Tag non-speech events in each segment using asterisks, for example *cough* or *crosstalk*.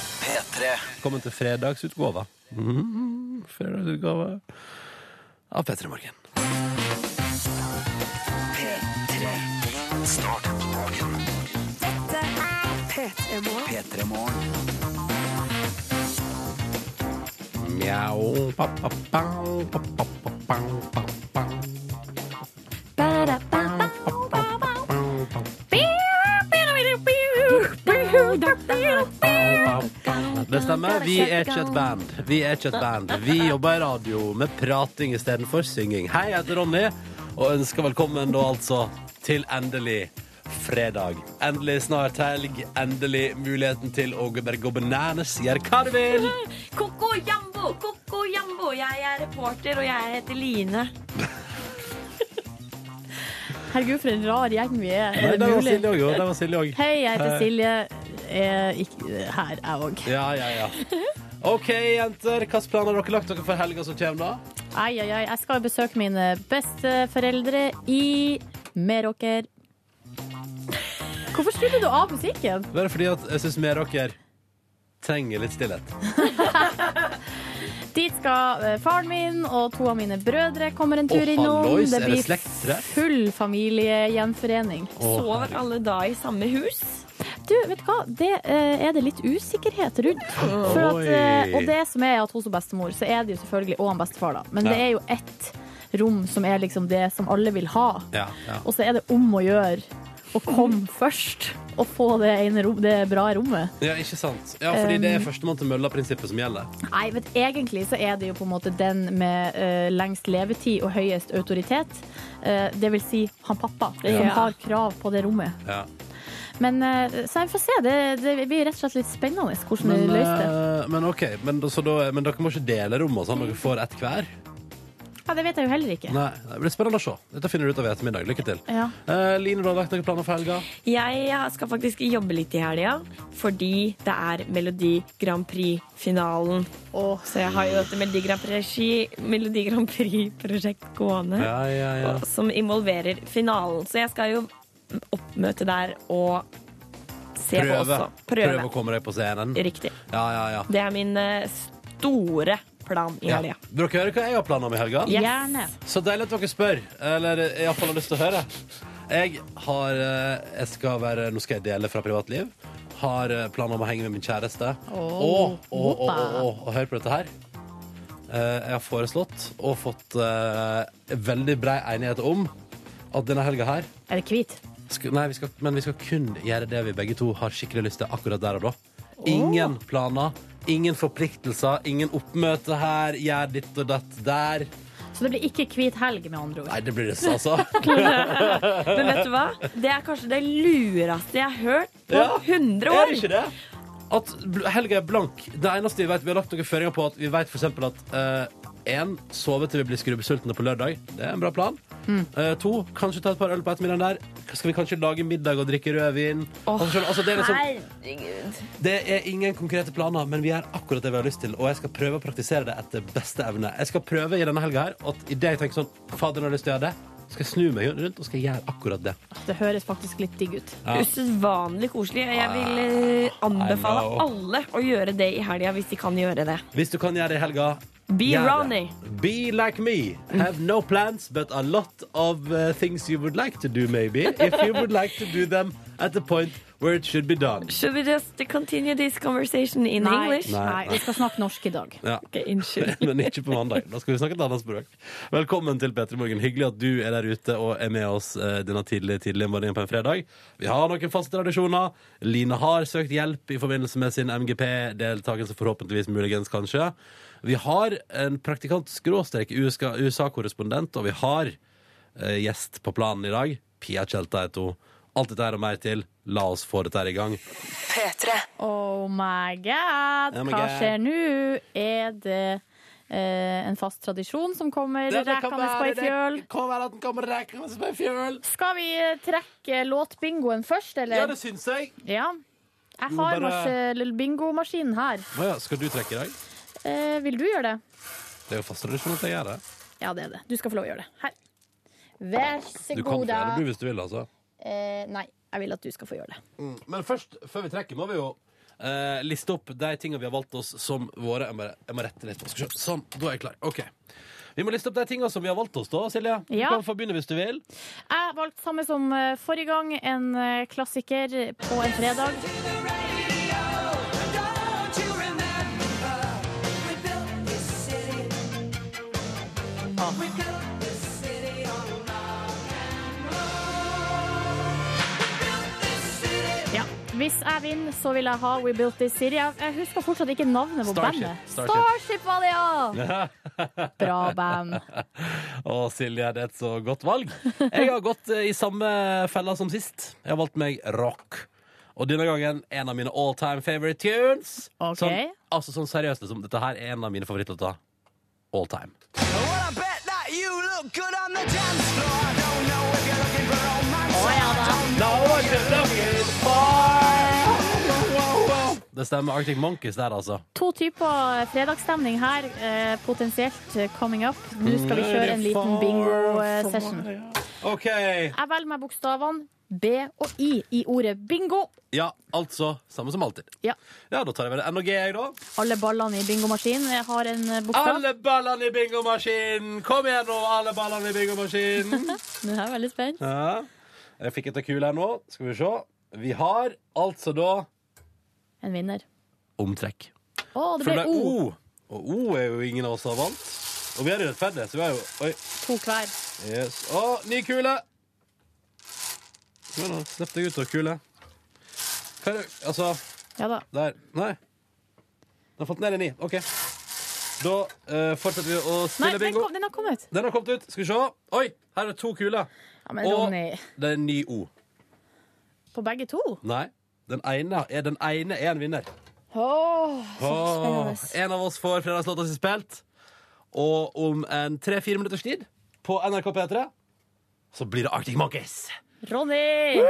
P3. Velkommen til fredagsutgåva. Mm, fredagsutgåva av P3 Morgen. Start på dagen. P3 Morgen. P3 Morgen. Mjau. Pa, pa, pa, pa, pa, pa, pa, pa, pa, pa. Det stemmer. Vi er ikke et band. Vi er ikke et band. Vi jobber i radio med prating istedenfor synging. Hei, jeg heter Ronny, og ønsker velkommen da altså til endelig fredag. Endelig snart helg. Endelig muligheten til å bare gå bananas. Gjør hva du vil. Koko Jambo, Koko Jambo. Jeg er reporter, og jeg heter Line. Herregud, for en rar gjeng vi er. Nei, Er det der var mulig? Silje òg, jo. Der var Silje òg. Hei, jeg heter Hei. Silje. Er ikke, her, jeg òg. Ja, ja, ja. OK, jenter. Hvilke planer har dere lagt dere for helga som kommer? da? Ai, ai, ai. Jeg skal besøke mine besteforeldre i Meråker. Hvorfor skrudde du av musikken? Bare fordi at jeg syns mer dere trenger litt stillhet. Dit skal eh, faren min og to av mine brødre kommer en tur Å, innom. hallois, Det er det blir slektstreff? full familiegjenforening. Sover alle da i samme hus? Du, vet du hva? Det eh, er det litt usikkerhet rundt. For at, eh, Oi. og det som er at hos bestemor, så er det jo selvfølgelig og en bestefar, da. Men Ja. det er jo ett rom som er liksom det som alle vil ha. Ja, ja. Og så er det om å gjøre å komme *laughs* først og få det ene rom, det bra rommet. ja, ikke sant? Ja, fordi det er førstemann til mølla-prinsippet som gjelder. Nei, men egentlig så er det jo på en måte den med eh, lengst levetid og høyest autoritet. Eh, det vil si han pappa, som Ja. har krav på det rommet. Ja. Men eh, så jeg får se. Det, det blir rett og slett litt spennende hvordan Men, vi løser det. eh, men OK, men, da- så da, men dere må ikke dele rom og sånn? Dere får ett hver? Ja, det vet jeg jo heller ikke. Nei, Det blir spennende å se. Dette finner du ut av i ettermiddag. Lykke til. Ja. Eh, Line, du har lagt noen planer for helga? Jeg skal faktisk jobbe litt i helga, fordi det er Melodi Grand Prix-finalen. Åh, Så jeg har jo dette Melodi Grand Prix- Melodi Grand Prix-prosjekt gående, Ja, ja, ja. som involverer finalen. Så jeg skal jo oppmøte der og se på Prøve. også. Prøve å komme deg på scenen. Riktig. Ja, ja, ja. Det er min eh, store plan i Ja. helga. Vil dere høre hva jeg har planer om i helga? Yes. Gjerne. Så deilig at dere spør, eller iallfall har lyst til å høre. Jeg har eh, Jeg skal være Nå skal jeg dele fra privatliv. Har eh, planer om å henge med min kjæreste. Åh, og, og, og, hoppa. og, og, og hør på dette her. Eh, Jeg har foreslått og fått eh, veldig brei enighet om at denne helga her Er det hvit? skal, Nei, vi skal, men vi skal kun gjøre det vi begge to har skikkelig lyst til akkurat der og da. Ingen planer, ingen forpliktelser, ingen oppmøte her, gjør ditt og datt der. Så det blir ikke hvit helg, med andre ord. Nei, det blir det, *laughs* altså. Men vet du hva? Det er kanskje det lureste jeg har hørt på Ja. 100 Er år. det ikke det? At bl- helga er blank. Det eneste vi vet, vi har lagt noen føringer på at vi vet for eksempel at én sove til vi blir skrubbsultne på lørdag. Det er en bra plan. Eh, to, kanskje ta et par øl på ettermiddagen der. Skal vi kanskje lage middag og drikke rødvin? altså, skjønner du, altså, det, er liksom, Herregud. det er ingen konkrete planer, men vi gjør akkurat det vi har lyst til. Og jeg skal prøve å praktisere det etter beste evne. Jeg skal prøve i denne helga her at idet jeg tenker sånn Fader, nå har jeg lyst til å gjøre det. Skal jeg snu meg rundt og skal jeg gjøre akkurat det. Det høres faktisk litt digg ut. Ja. Ah, Usedvanlig koselig. Jeg vil eh, anbefale I know. alle å gjøre det i helga hvis de kan gjøre det. Hvis du kan gjøre det i helga Be gjør det. Ronny. Be like me. Have no plans, but a lot of uh, things you would like to do, maybe. If you would like to do them at the point where it should be done. Should we just continue this conversation in English? nei, Nei, vi skal snakke norsk i dag. Ja. Ok, unnskyld. *laughs* Men ikke på mandag. Da skal vi snakke et annet språk. Velkommen til P3 Morgen. Hyggelig at du er der ute og er med oss eh, denne tidlige, tidlige morgenen på en fredag. Vi har noen faste tradisjoner. Line har søkt hjelp i forbindelse med sin MGP-deltakelse, forhåpentligvis muligens, kanskje. Vi har en praktikant skråstrek USA-korrespondent, og vi har eh, gjest på planen i dag. Pia Tjelta heter hun. Alt dette her og mer til. La oss få dette her i gang. Oh my god, Oh my hva God. skjer nå? Er det eh, en fast tradisjon som kommer rekende på ei fjøl? kan være at den kommer rekende på ei fjøl. Skal vi eh, trekke låtbingoen først, Ja, eller? det syns jeg. Ja. Jeg må har bare- mars- lille bingomaskinen her. Å ja, skal du trekke i dag? Eh, vil du gjøre det? Det er jo fast tradisjon at jeg gjør det. Ja, det er det. Du skal få lov å gjøre det. Her. Vær så Du kan få god, da. gjøre det du hvis du vil, altså. Mm. Eh, nei, jeg vil at du skal få gjøre det. Men først, før vi trekker, må vi jo eh, liste opp de tingene vi har valgt oss som våre. Jeg må, jeg må rette litt. på. Skal vi se. Sånn, da er jeg klar. OK. Vi må liste opp de tingene som vi har valgt oss, da, Silje. Ja. Du kan få begynne hvis du vil. Jeg valgte samme som eh, forrige gang, en eh, klassiker på en fredag. Ah. Ja. Hvis jeg vinner, så vil jeg ha We Built This City. Jeg, jeg husker fortsatt ikke navnet på Starship. bandet. Starship. Starship var det, *laughs* ja! *laughs* Bra band. Å, Silje, det er et så godt valg. Jeg har gått eh, i samme fella som sist. Jeg har valgt meg rock. Og denne gangen en av mine all time favorite tunes. Ok. Sånn, altså sånn seriøst, liksom. Dette her er en av mine favorittlåter. All time. Det stemmer. Arctic Monkeys der, altså. To typer fredagsstemning her, eh, potensielt eh, coming up. Nå skal Mm. vi kjøre en liten bingo-session. OK. Jeg velger meg bokstavene B og I i ordet bingo. Ja, altså. Samme som alltid. Ja. Ja, da tar jeg med det. NOG, jeg, da. Alle ballene i bingomaskinen eh, har en eh, bokstav. Alle ballene i bingomaskinen! Kom igjen nå, alle ballene i bingomaskinen! *laughs* Nå er jeg veldig spent. ja. Jeg fikk et kul her nå. Skal vi se. Vi har altså da En vinner. omtrekk. Å, det For ble det er O. O. Og O er jo ingen av oss som har vant. Og vi er jo rettferdige, så vi er jo Oi. To hver. Yes. Å, ny kule! Kom igjen, da. Slipp deg ut av kule. Hva er det Altså Ja da. Der. Nei. Den har falt ned i ni. OK. Da eh, fortsetter vi å Nei, spille den, bingo. kom, den har kommet. Den har kommet ut. Skal vi se. Oi, her er det to kuler. Ja, men Og- Ronny, Det er en ny O. på begge to? Nei. Den ene er, den ene er en vinner. Åh, så Åh, spennende. en av oss får fredagslåta si spilt. Og om en tre-fire minutters tid, på NRK P3, så blir det Arctic Monkeys. Ronny!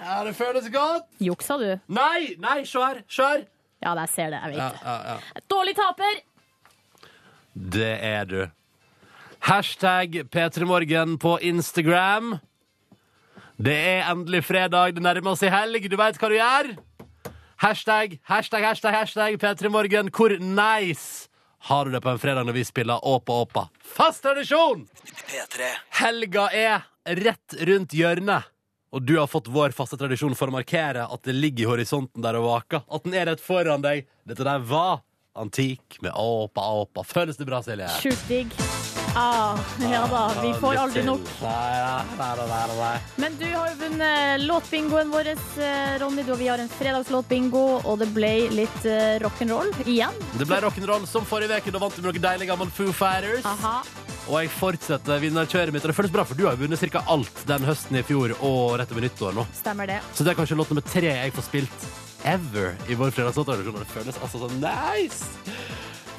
Ja, det føles godt. Juksa du? Nei, nei, se her. Se her. Ja, jeg ser det. Jeg vet Ja, det. ja, ja. Dårlig taper! Det er du. Hashtag P3morgen på Instagram. Det er endelig fredag, det nærmer seg helg. Du veit hva du gjør? Hashtag, hashtag, hashtag, hashtag P3morgen. Hvor nice har du det på en fredag når vi spiller Åpa Åpa? Fast tradisjon! Helga er rett rundt hjørnet. Og du har fått vår faste tradisjon for å markere at det ligger i horisonten der og vaker. At den er rett foran deg. Dette der var antikk med åpa, åpa. Føles det bra, Silje? Sjukt digg. Ah, ja da, vi får aldri nok. Nei, nei, nei, nei, nei. Men du har jo vunnet låtbingoen vår, eh, Ronny. Du, og vi har en fredagslåtbingo, og det ble litt eh, rock'n'roll igjen. Det ble rock'n'roll som forrige uke. Da vant du med noen deilige gamle Foo Fighters. Aha. Og jeg fortsetter vinnerkjøret mitt. Og det føles bra, for du har jo vunnet ca. alt den høsten i fjor og rett over nyttår nå. Stemmer det. Så det er kanskje låt nummer tre jeg får spilt ever i vår fredagslåtredaksjon. og Det føles altså så nice!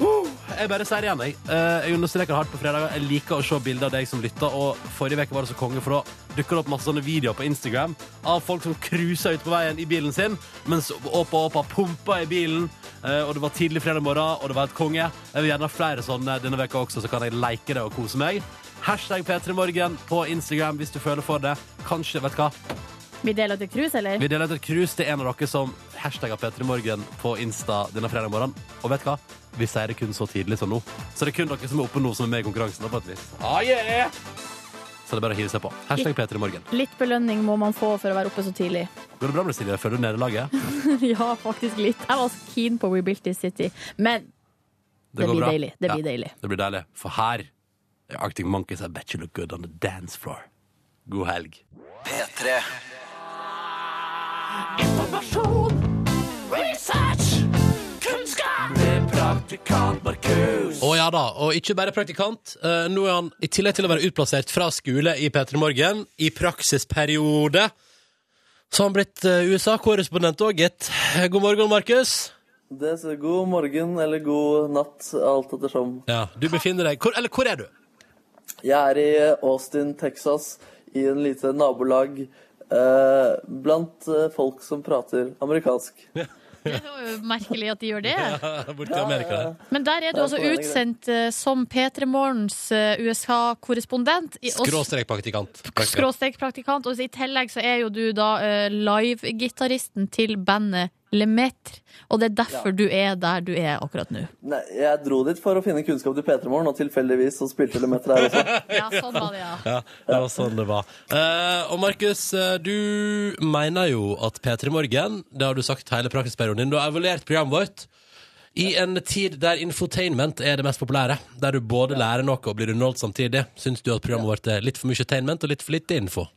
Uh, jeg bare sier det igjen, jeg. Eh, Jeg understreker hardt på fredager. Jeg liker å se bilder av deg som lytter, og forrige uke var det så konge, for da dukker det opp masse sånne videoer på Instagram av folk som cruiser ute på veien i bilen sin, mens Åpa Åpa pumpa i bilen, eh, og det var tidlig fredag morgen, og det var et konge. Jeg vil gjerne ha flere sånne denne veka også, så kan jeg leke det og kose meg. Hashtag P3morgen på Instagram hvis du føler for det. Kanskje, vet du hva? Vi deler til krus, eller? Vi deler ut et krus til en av dere som hashtagger P3morgen på Insta denne fredag morgenen. Og vet du hva? Vi sier det kun så tidlig som nå. Så det er kun dere som er oppe nå, som er med i konkurransen. da, På et vis. Ah, yeah! Så det er bare å hive seg på. Hashtag P3morgen. Litt belønning må man få for å være oppe så tidlig. Går det bra med deg, Silje? Føler du nederlaget? *laughs* Det, ja, faktisk litt. Jeg var så keen på We Built This City, men det, går blir bra. deilig. Det Ja, blir deilig. det blir deilig. For her er Arctic Monkeys I bet you look good on the dance floor. God helg. Å ja da, og ikke bare praktikant. Eh, nå er han, i tillegg til å være utplassert fra skole i P3 Morgen, i praksisperiode, så har han blitt eh, USA-korrespondent òg, gitt. God morgen, Markus. Det er så god morgen eller god natt, alt ettersom. Ja, du befinner deg hvor, Eller hvor er du? Jeg er i eh, Austin, Texas, i en lite nabolag eh, blant eh, folk som prater amerikansk. Det var jo merkelig at de gjør det. *laughs* Borti Amerika der. Men der er du altså får jeg det utsendt eh, som P3 Morgens eh, USA-korrespondent. i- og- Skråstrek praktikant. Skråstrek praktikant. Og i tillegg så er jo du da eh, live-gitaristen til bandet Lemaitre. Og det er derfor du er der du er akkurat nå. Nei, jeg dro dit for å finne kunnskap til P3 Morgen, og tilfeldigvis så spilte Lemeter her også. *laughs* Ja, sånn var det, ja. Ja, det var sånn det var. Eh, og Markus, eh, du mener jo at P3 Morgen, det har du sagt hele praksisperioden din, du har evaluert programmet vårt i en tid der infotainment er det mest populære. Der du både lærer noe og blir underholdt samtidig. Syns du at programmet vårt er litt for mye tainment og litt for lite info?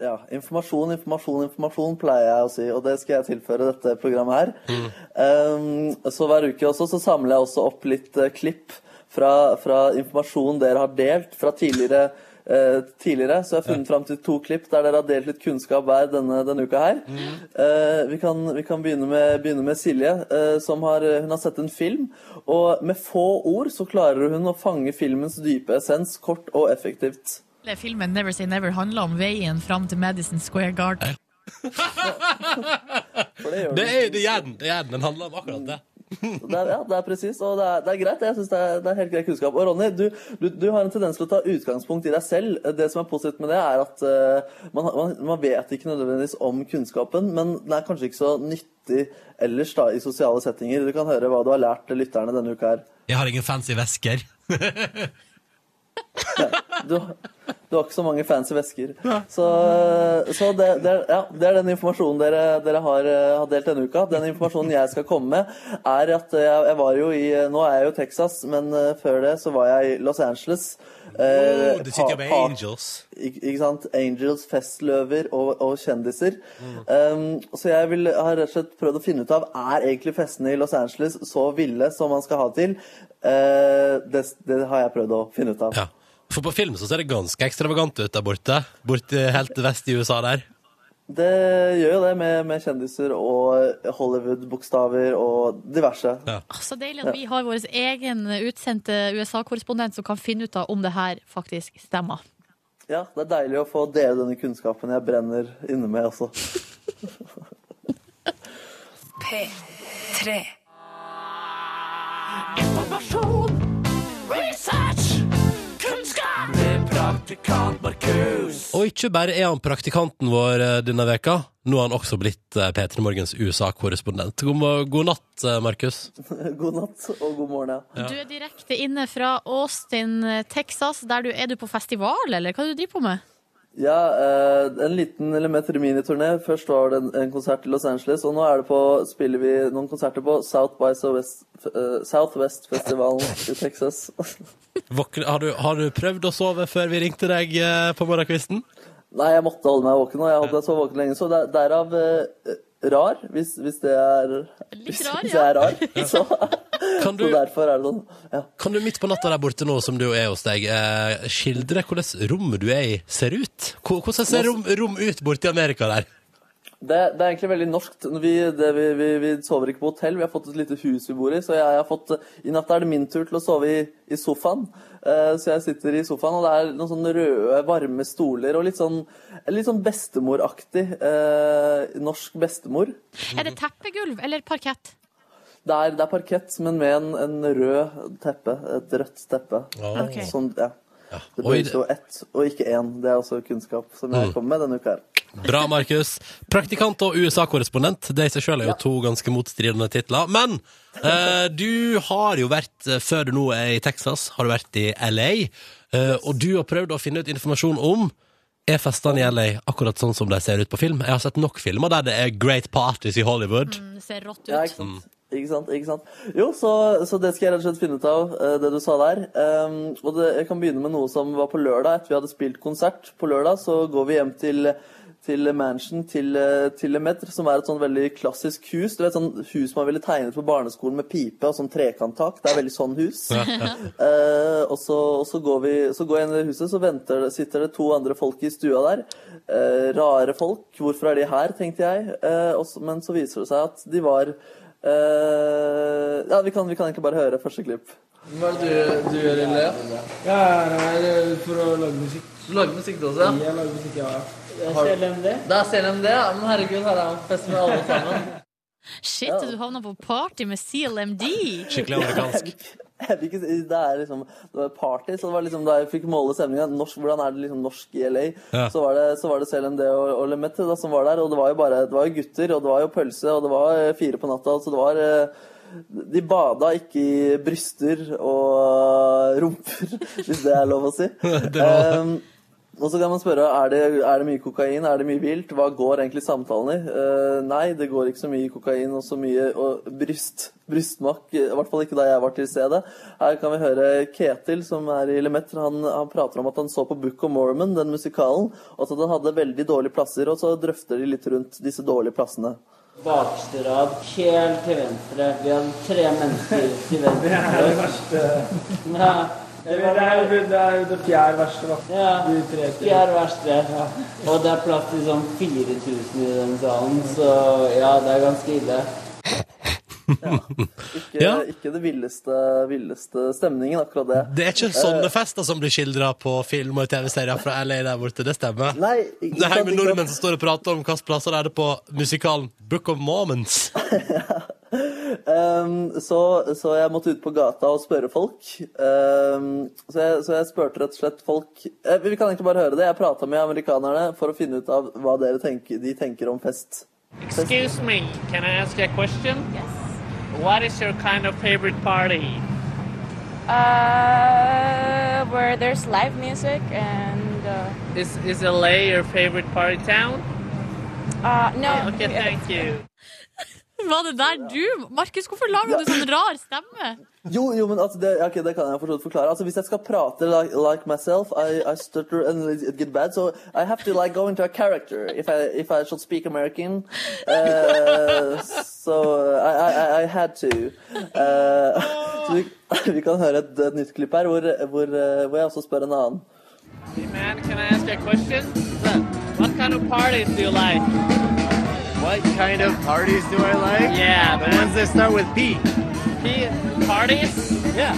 Ja, informasjon, informasjon, informasjon pleier jeg å si, og det skal jeg tilføre dette programmet her. Um, så hver uke også så samler jeg også opp litt eh, klipp fra, fra informasjon dere har delt fra tidligere. eh, tidligere, Så jeg har funnet fram til to klipp der dere har delt litt kunnskap hver denne, denne uka her. Eh, vi kan, vi kan begynne, med, begynne med Silje, eh, som har, hun har sett en film. Og med få ord så klarer hun å fange filmens dype essens kort og effektivt. Hele filmen Never Say Never handler om veien fram til Madison Square Garden. For det gjør Det hun. er det gjør den. Det gjør den. Den handler om akkurat det. *laughs* Det er, ja, det er presis, og det er, det er greit. Jeg synes det er, det er helt grei kunnskap. Og Ronny, du, du, du har en tendens til å ta utgangspunkt i deg selv. Det som er positivt med det, er at eh, man, man, man vet ikke nødvendigvis om kunnskapen, men den er kanskje ikke så nyttig ellers da, i sosiale settinger. Du kan høre hva du har lært lytterne denne uka her. Jeg har ingen fancy vesker. Du, du har ikke så mange fancy vesker. Så, så det, det, er, ja, det er den informasjonen dere, dere har, eh, har delt denne uka. Den informasjonen jeg skal komme med, er at eh, jeg, jeg var jo i Nå er jeg jo i Texas, men eh, før det så var jeg i Los Angeles. Eh, Oh, the City of pa- pa- Angels. ikke ikke sant? Angels, festløver og, og kjendiser. Mm. Um, så jeg vil, har rett og slett prøvd å finne ut av er egentlig festene i Los Angeles så ville som man skal ha til. Eh, det, det har jeg prøvd å finne ut av. Ja. For på film så ser det ganske ekstravagant ut der borte. Borte helt vest i USA der. Det gjør jo det med, med kjendiser og Hollywood-bokstaver og diverse. Ah, Så deilig at vi har vår egen utsendte USA-korrespondent som kan finne ut av om det her faktisk stemmer. Ja, Det er deilig å få dele denne kunnskapen jeg brenner inne med også. *laughs* P3 Og ikke bare er han praktikanten vår eh, denne veka, nå er han også blitt eh, P3 Morgens USA-korrespondent. God, mo- god natt, eh, Markus. *laughs* God natt og god morgen. ja. Du er direkte inne fra Austin, Texas. Der du, er du på festival, eller hva er det du driver på med? Ja, eh, en liten Lemeter miniturné. Først var det en, en konsert i Los Angeles, og nå er det på, spiller vi noen konserter på South by Southwest, eh, Southwest-festivalen i Texas. *laughs* Våkne, har, du, har du prøvd å sove før vi ringte deg eh, på morgenkvisten? Nei, jeg måtte holde meg våken, og jeg holdt meg så våken lenge, så der, derav eh, rar, hvis, hvis det er hvis, rar, hvis *laughs* ja. jeg er rar. Så, Kan du, så derfor er det sånn. Ja. kan du midt på natta der borte nå som du er hos deg, eh, skildre hvordan rommet du er i, ser ut? Hvor- Hvordan ser rom, rom ut borte i Amerika der? Det, det er egentlig veldig norskt. Vi, det, vi, vi, vi sover ikke på hotell. Vi har fått et lite hus vi bor i, så jeg, har fått I natt er det min tur til å sove i, i sofaen. Eh, så jeg sitter i sofaen, og det er noen sånne røde, varme stoler og litt sånn, litt sånn bestemoraktig. eh, norsk bestemor. Er det teppegulv eller parkett? Det er, det er parkett, men med en, en rød teppe. Et rødt teppe. Å. Ok. Sånn, ja. Det Mm. Oi, brukes jo ett og ikke én. Det er også kunnskap som jeg kommer med denne uka her. Bra, Markus. Praktikant og USA-korrespondent. Det i seg selv er jo to ganske motstridende titler. Men eh, du har jo vært, eh, før du nå er i Texas, har du vært i LA. eh, og du har prøvd å finne ut informasjon om er festene i LA akkurat sånn som de ser ut på film. Jeg har sett nok filmer der det er great parties i Hollywood. Det ser rått ut. Ja, ikke sant? Ikke sant, ikke sant. Jo, så, så det skal jeg rett og slett finne ut av, eh, det du sa der. Ehm, og det, jeg kan begynne med noe som var på lørdag. Etter vi hadde spilt konsert på lørdag, så går vi hjem til til mansion til, eh, til Lemaitre, som er et sånn veldig klassisk hus. Du vet, sånn hus man ville tegnet på barneskolen med pipe og sånn trekanttak. Det er veldig sånn hus. Eh, og så, og så, går vi, så går jeg inn i det huset, så venter, det- sitter det to andre folk i stua der. Eh, rare folk. Hvorfor er de her, tenkte jeg. Eh, og så- men så viser det seg at de var eh, Ja, vi kan, vi kan egentlig bare høre første klipp. Hva er det du, gjør, Ilja? Jeg er her for å lage musikk. Du lager musikk, du også? Ja? Jeg lager musikk, ja. Det er CLMD, ja. Men herregud, her er man fest med alle sammen. Shit, du havna på party med CLMD! Skikkelig amerikansk. *laughs* Jeg vil ikke si, det er liksom Det var party, så det var liksom da jeg fikk måle stemninga Hvordan er det liksom norsk i LA? Ja. Så, var det, så var det CLMD og, og Lemette da, som var der, og det var jo bare Det var jo gutter, og det var jo pølse, og det var eh, fire på natta, så det var eh, de bada ikke i bryster og rumper, *laughs* hvis det er lov å si. Ehm, og så kan man spørre er det, er det mye kokain, er det mye vilt, hva går egentlig samtalen i? Eh, nei, det går ikke så mye kokain og så mye og bryst, brystmakk, i hvert fall ikke da jeg var til stedet. Her kan vi høre Ketil, som er i Lemetter, han, han prater om at han så på Book of Mormon, den musikalen, og at han hadde veldig dårlige plasser, og så drøfter de litt rundt disse dårlige plassene. Bakste rad, helt til venstre. Vi hadde tre mennesker til venstre. Det er det verste. Ja, Det er jo det, er jo det fjerde verste, da. ja. De tre Vi er verst det. Og det er plass til sånn 4000 i den salen, så ja, det er ganske ille. Ikke, Ja. ikke det villeste, villeste stemningen, akkurat det. Det er ikke sånne fester som blir skildra på film og TV-serier fra LA der borte, det stemmer. Nei, ikke Det sant, her med ikke sant. nordmenn som står og prater om hvilke plasser er det på musikalen Book of Moments. Ehm, så, så jeg måtte ut på gata og spørre folk. Ehm, så, jeg, så jeg spurte rett og slett folk eh, Vi kan egentlig bare høre det. Jeg prata med amerikanerne for å finne ut av hva dere tenker, de tenker om fest. Excuse me, can I ask you a question? Yes. What is your kind of favorite party? Uh, where there's live music and uh, Is is LA your favorite party town? uh, no. Okay, thank you. *laughs* Var det der du Markus, hvorfor lager du sånn rar stemme? Jo, jo, men altså, det, ja, ok, det kan jeg for så vidt forklare. Altså, hvis jeg skal prate like, like myself, I, I stutter and it get bad, so I have to like go into a character if I, if I should speak American. Eh, so I, I, I- I had to. Eh, så vi, vi *laughs* kan høre et, et nytt klipp her, hvor, hvor, eh, hvor jeg også spør en annen. Hey man, can I ask you a question? What kind of parties do you like? What kind of parties do I like? Yeah, The ones man. that start with P. P- Parties? Yeah.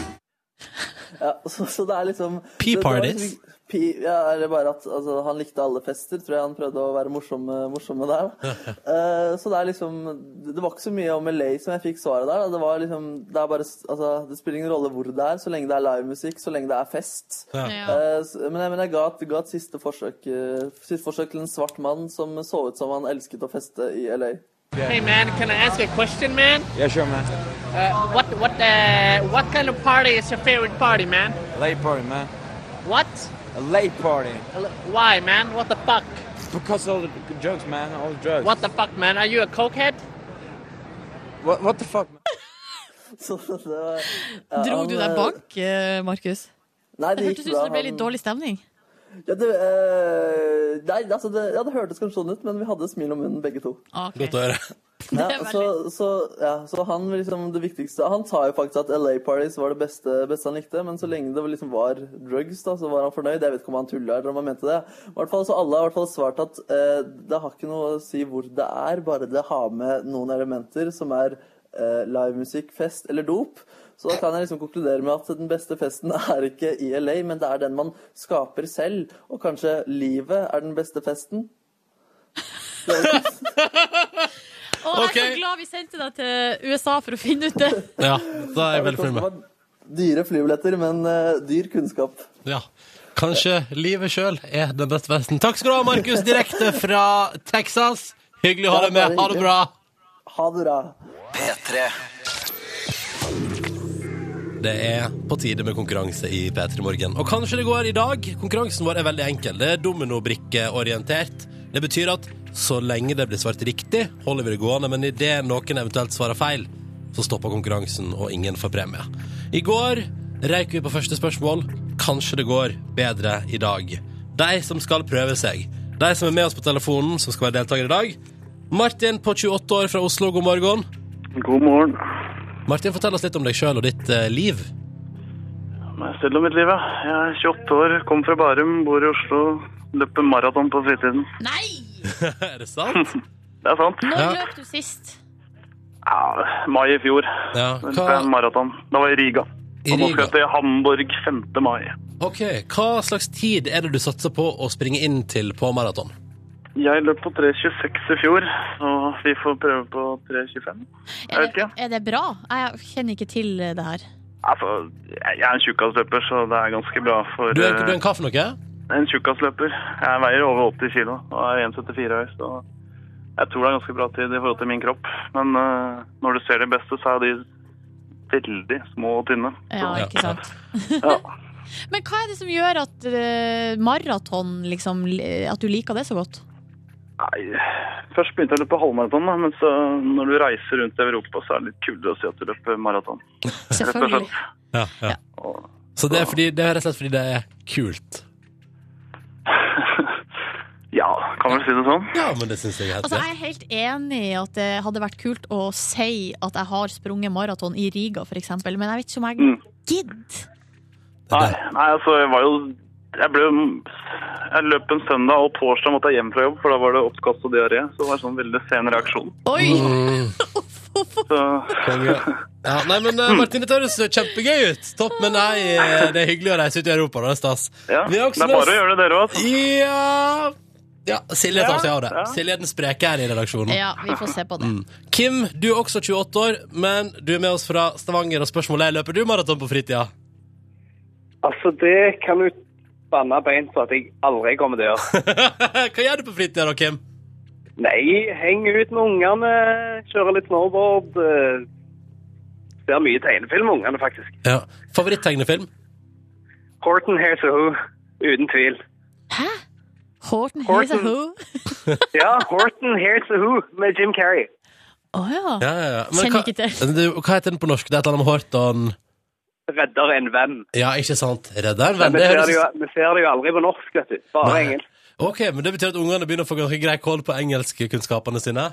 Ja, *laughs* så, så det er liksom Pea det- det var parties. liksom ikke- pea- ja, eller bare at altså, han likte alle fester, tror jeg han prøvde å være morsom, morsom med der. da. Eh, så det er liksom Det det var ikke så mye om LA som jeg fikk svaret der. Da. Det var liksom Det er bare Altså, det spiller ingen rolle hvor det er, så lenge det er livemusikk, så lenge det er fest. Ja. Eh, s- men jeg, men jeg ga, et- ga et siste forsøk, eh, siste forsøk til en svart mann som så ut som han elsket å feste i LA. Hey man, can I ask you a question, man? Yeah, sure, man. Uh, what what uh, what kind of party is your favorite party, man? Late party, man. What? A late party. Why, man? What the fuck? Because all the jokes, man. All the drugs. What the fuck, man? Are you a cokehead? What, what the fuck, man? *laughs* Så det var ja, Dro han, du deg eh, bank, eh, Markus? Nei, Det det hørtes gikk ut bra. som det ble Han- litt dårlig stemning. Ja, det, eh, nei, altså det, ja, det hørtes kanskje sånn ut, men vi hadde smil om munnen begge to. Ok. Godt å høre. Ja, Det er så, altså, så, ja, så han liksom det viktigste Han sa jo faktisk at LA Parties var det beste, beste han likte, men så lenge det liksom var drugs, da, så var han fornøyd. Jeg vet ikke om han tulla eller om han mente det. I hvert fall, så alle har i hvert fall svart at eh, det har ikke noe å si hvor det er, bare det har med noen elementer som er eh, livemusikk, fest eller dop. Så da kan jeg liksom konkludere med at den beste festen *laughs* er ikke i LA, men det er den man skaper selv. Og kanskje livet er den beste festen. Det er jo ikke Å, jeg er Ok. så glad vi sendte deg til USA for å finne ut det. *laughs* Ja, *laughs* da er jeg veldig fornøyd med. Det sånn var Dyre flybilletter, men eh, dyr kunnskap. Ja. Kanskje livet sjøl er den beste festen. Takk skal du ha, Markus, direkte fra Texas. Hyggelig å ha deg med. Ha det bra. Ha det bra. Det er på tide med konkurranse i P3 Morgen. Og kanskje det går i dag. Konkurransen vår er veldig enkel. Det er dominobrikkeorientert. Det betyr at så lenge det blir svart riktig, holder vi det gående. Men idet noen eventuelt svarer feil, så stopper konkurransen, og ingen får premie. I går røyk vi på første spørsmål. Kanskje det går bedre i dag. De som skal prøve seg. De som er med oss på telefonen, som skal være deltakere i dag. Martin på 28 år fra Oslo, god morgen. God morgen. Martin, fortell oss litt om deg sjøl og ditt eh, liv. Må jeg stille om mitt liv, ja. Jeg er 28 år, kommer fra Bærum, bor i Oslo. Løper maraton på fritiden. Nei! *laughs* Er det sant? *laughs* Det er sant. Når Ja. løp du sist? Ja, mai i fjor. Ja, Det hva, er en maraton. Da var jeg i Riga. I Og nå skal Riga. jeg til Hamburg 5. mai. Ok, hva slags tid er det du satser på å springe inn til på maraton? Jeg løp på 3.26 i fjor, og vi får prøve på 3.25. Jeg vet ikke. Er det bra? Jeg kjenner ikke til det her. Altså, jeg jeg er en tjukkasløper, så det er ganske bra for Du er, du eh, er en hva *laughs* for noe? En tjukkasløper. Jeg veier over 80 kilo og er 1,74 høy, så jeg tror det er ganske bra tid i forhold til min kropp. Men eh, når du ser de beste, så er de veldig små og tynne. Ja, Så- ikke sant. Men hva er det som gjør at eh, maraton liksom li- At du liker det så godt? Nei, først begynte jeg å løpe halvmaraton, da, men så når du reiser rundt i Europa, så er det litt kulere å si at du løper maraton. Rett og slett. Ja, ja. Så det er, fordi, det er rett og slett fordi det er kult. *laughs* Ja, kan vel si det sånn. Ja, men det syns jeg er helt Altså, greit. jeg er helt enig i at det hadde vært kult å si at jeg har sprunget maraton i Riga, f.eks., men jeg vet ikke om jeg Mm. gidder. Nei, nei, altså jeg var jo jeg, ble, jeg løp en søndag, og torsdag måtte jeg hjem fra jobb, for da var det oppkast og diaré. Så det var sånn veldig sen reaksjon. Så, Konge. Mm. Ja, nei, men eh, Martin, dette høres kjempegøy ut. Topp, men nei, eh, det er hyggelig å reise ut i Europa. Da, det er stas. ja, det er bare å gjøre det, dere òg. Ja, ja Silje tar seg av det. Ja, ja. Silje er den spreke her i redaksjonen. Ja, vi får se på det. Mm. Kim, du er også 28 år, men du er med oss fra Stavanger. Og spørsmålet er løper du maraton på fritida? Altså, det kan du banne beint på at jeg aldri kommer til å gjøre. *laughs* Hva gjør du på fritida da, Kim? Nei, heng ut med ungene, kjøre litt snowboard. eh, Ser mye tegnefilm med ungene, faktisk. Ja. Favoritt-tegnefilm? Horton Hears a Who, uten tvil. Horton, Horton. Hears a Who. *laughs* Ja, Horton Hears a Who med Jim Carrey. Å ja. Ja, ja, ja. Kjenner hva, ikke til. du, hva heter den på norsk? Det er et eller annet med Horton Redder en venn. Ja, ikke sant? Redder en Men venn. vi Det ser, det jo, høres vi ser det jo aldri på norsk, vet du. Bare Nei. engelsk. OK, men det betyr at ungene begynner å få ganske grei kål på engelskkunnskapene sine?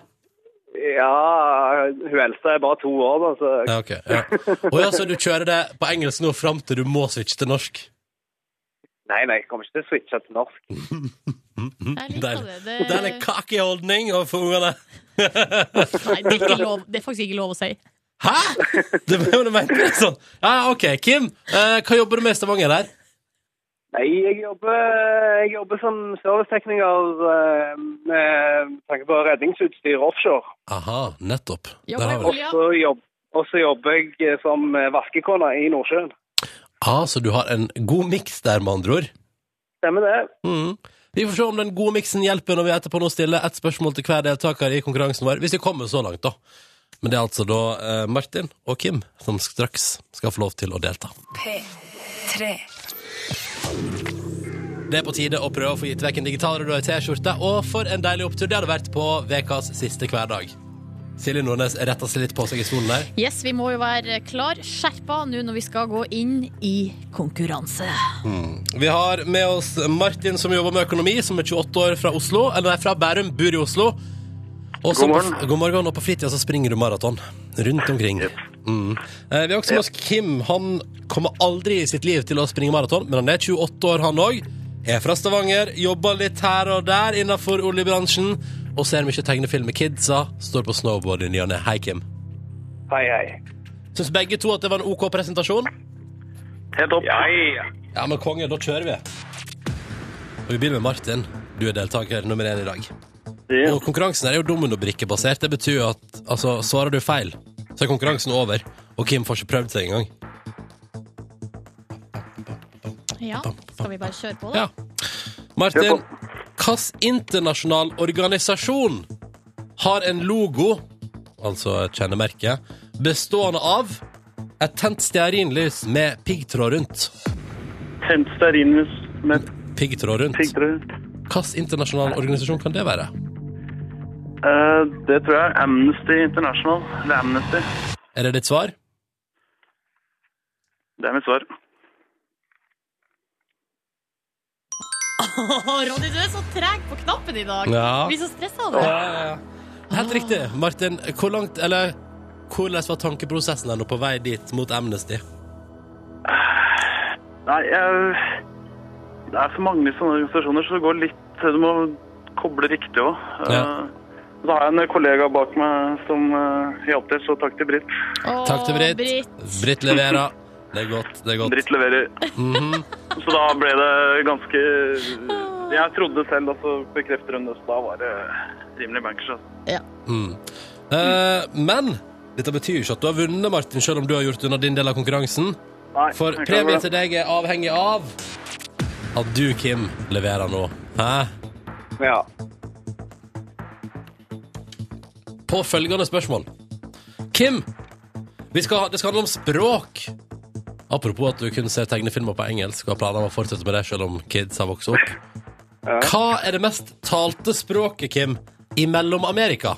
Ja, hun eldste er bare to år, da, så Ja, ok. *laughs* Ja. Og ja, så du kjører det på engelsk nå fram til du må switche til norsk? Nei, nei, jeg kommer ikke til å switche til norsk. *laughs* Deilig. det. Det- Det er en cocky holdning overfor ungene. Nei, det er, ikke lov. det er faktisk ikke lov å si. *laughs* Det ble jo ment sånn. Ja, ja, OK. Kim, eh, hva jobber du med i Stavanger der? Nei, jeg jobber, jeg jobber som servicetekniker eh, med tanke på redningsutstyr offshore. Aha, nettopp. Der har Og vi det. så jobb- og så jobber jeg eh, som vaskekone i Nordsjøen. Ah, så du har en god miks der, med andre ord? Stemmer det? Mm. Vi får se om den gode miksen hjelper når vi etterpå nå stiller ett spørsmål til hver deltaker i konkurransen vår, hvis vi kommer så langt, da. Men det er altså da eh, Martin og Kim som straks skal få lov til å delta. P3. Det er på tide å prøve å få gitt vekk en digital radio og ei T-skjorte, og for en deilig opptur det hadde vært på ukas siste hverdag. Silje Nordnes retta seg litt på seg i stolen der. Yes, vi må jo være klar skjerpa nå når vi skal gå inn i konkurranse. Vi har med oss Martin som jobber med økonomi, som er 28 år fra Oslo, eller nei, fra Bærum, bor i Oslo. Og som God på- morgen. god morgen, og på fritida så springer du maraton rundt omkring. Mm. Eh, Vi har også med oss Kim. Han kommer aldri i sitt liv til å springe maraton, men han er 28 år, han òg. Er fra Stavanger, jobber litt her og der innafor oljebransjen. Og ser mye tegnefilm med kidsa. Står på snowboard i ny og ne. Hei, Kim. Hei, hei. Syns begge to at det var en OK presentasjon? Helt opp. Ja, ja. Ja, men konge, da kjører vi. Og vi begynner med Martin. Du er deltaker nummer én i dag. Og konkurransen her er jo dominobrikkebasert. Det betyr jo at altså, svarer du feil, så er konkurransen over. Og Kim får ikke prøvd seg engang. Ja, skal vi bare kjøre på, da? da? Martin, hvilken internasjonal organisasjon har en logo, altså et kjennemerke, bestående av et tent stearinlys med piggtråd rundt? Tent stearinlys med Piggtråd rundt? Hvilken internasjonal organisasjon kan det være? Eh, det tror jeg er Amnesty International. Eller Amnesty. Er det ditt svar? Det er mitt svar. Ronny, du er så treg på knappen i dag. Ja. Blir så stressa av det. Helt riktig. Martin, hvor langt, eller hvordan var tankeprosessen her nå på vei dit mot Amnesty? Nei, jeg, det er så mange sånne organisasjoner, så det går litt Du må koble riktig òg. Ja. Så har jeg en kollega bak meg som eh, hjalp til, så takk til Britt. Takk til Britt. Britt leverer. Det er godt. Mhm, det er godt. Britt leverer. Så da ble det ganske Jeg trodde selv, og så bekrefter hun det, så da var det rimelig bankers. altså. Mm. Eh, men dette betyr jo ikke at du har vunnet, Martin, selv om du har gjort unna din del av konkurransen. Nei, For jeg klarer premien det. til deg er avhengig av at du, Kim, leverer nå. Hæ? Ja. På følgende spørsmål. Kim, vi skal, ha- det skal handle om språk. Apropos at du kun ser tegnefilmer på engelsk og har planer om å fortsette med det selv om kids har vokst opp. Hva er det mest talte språket, Kim, i Mellom-Amerika?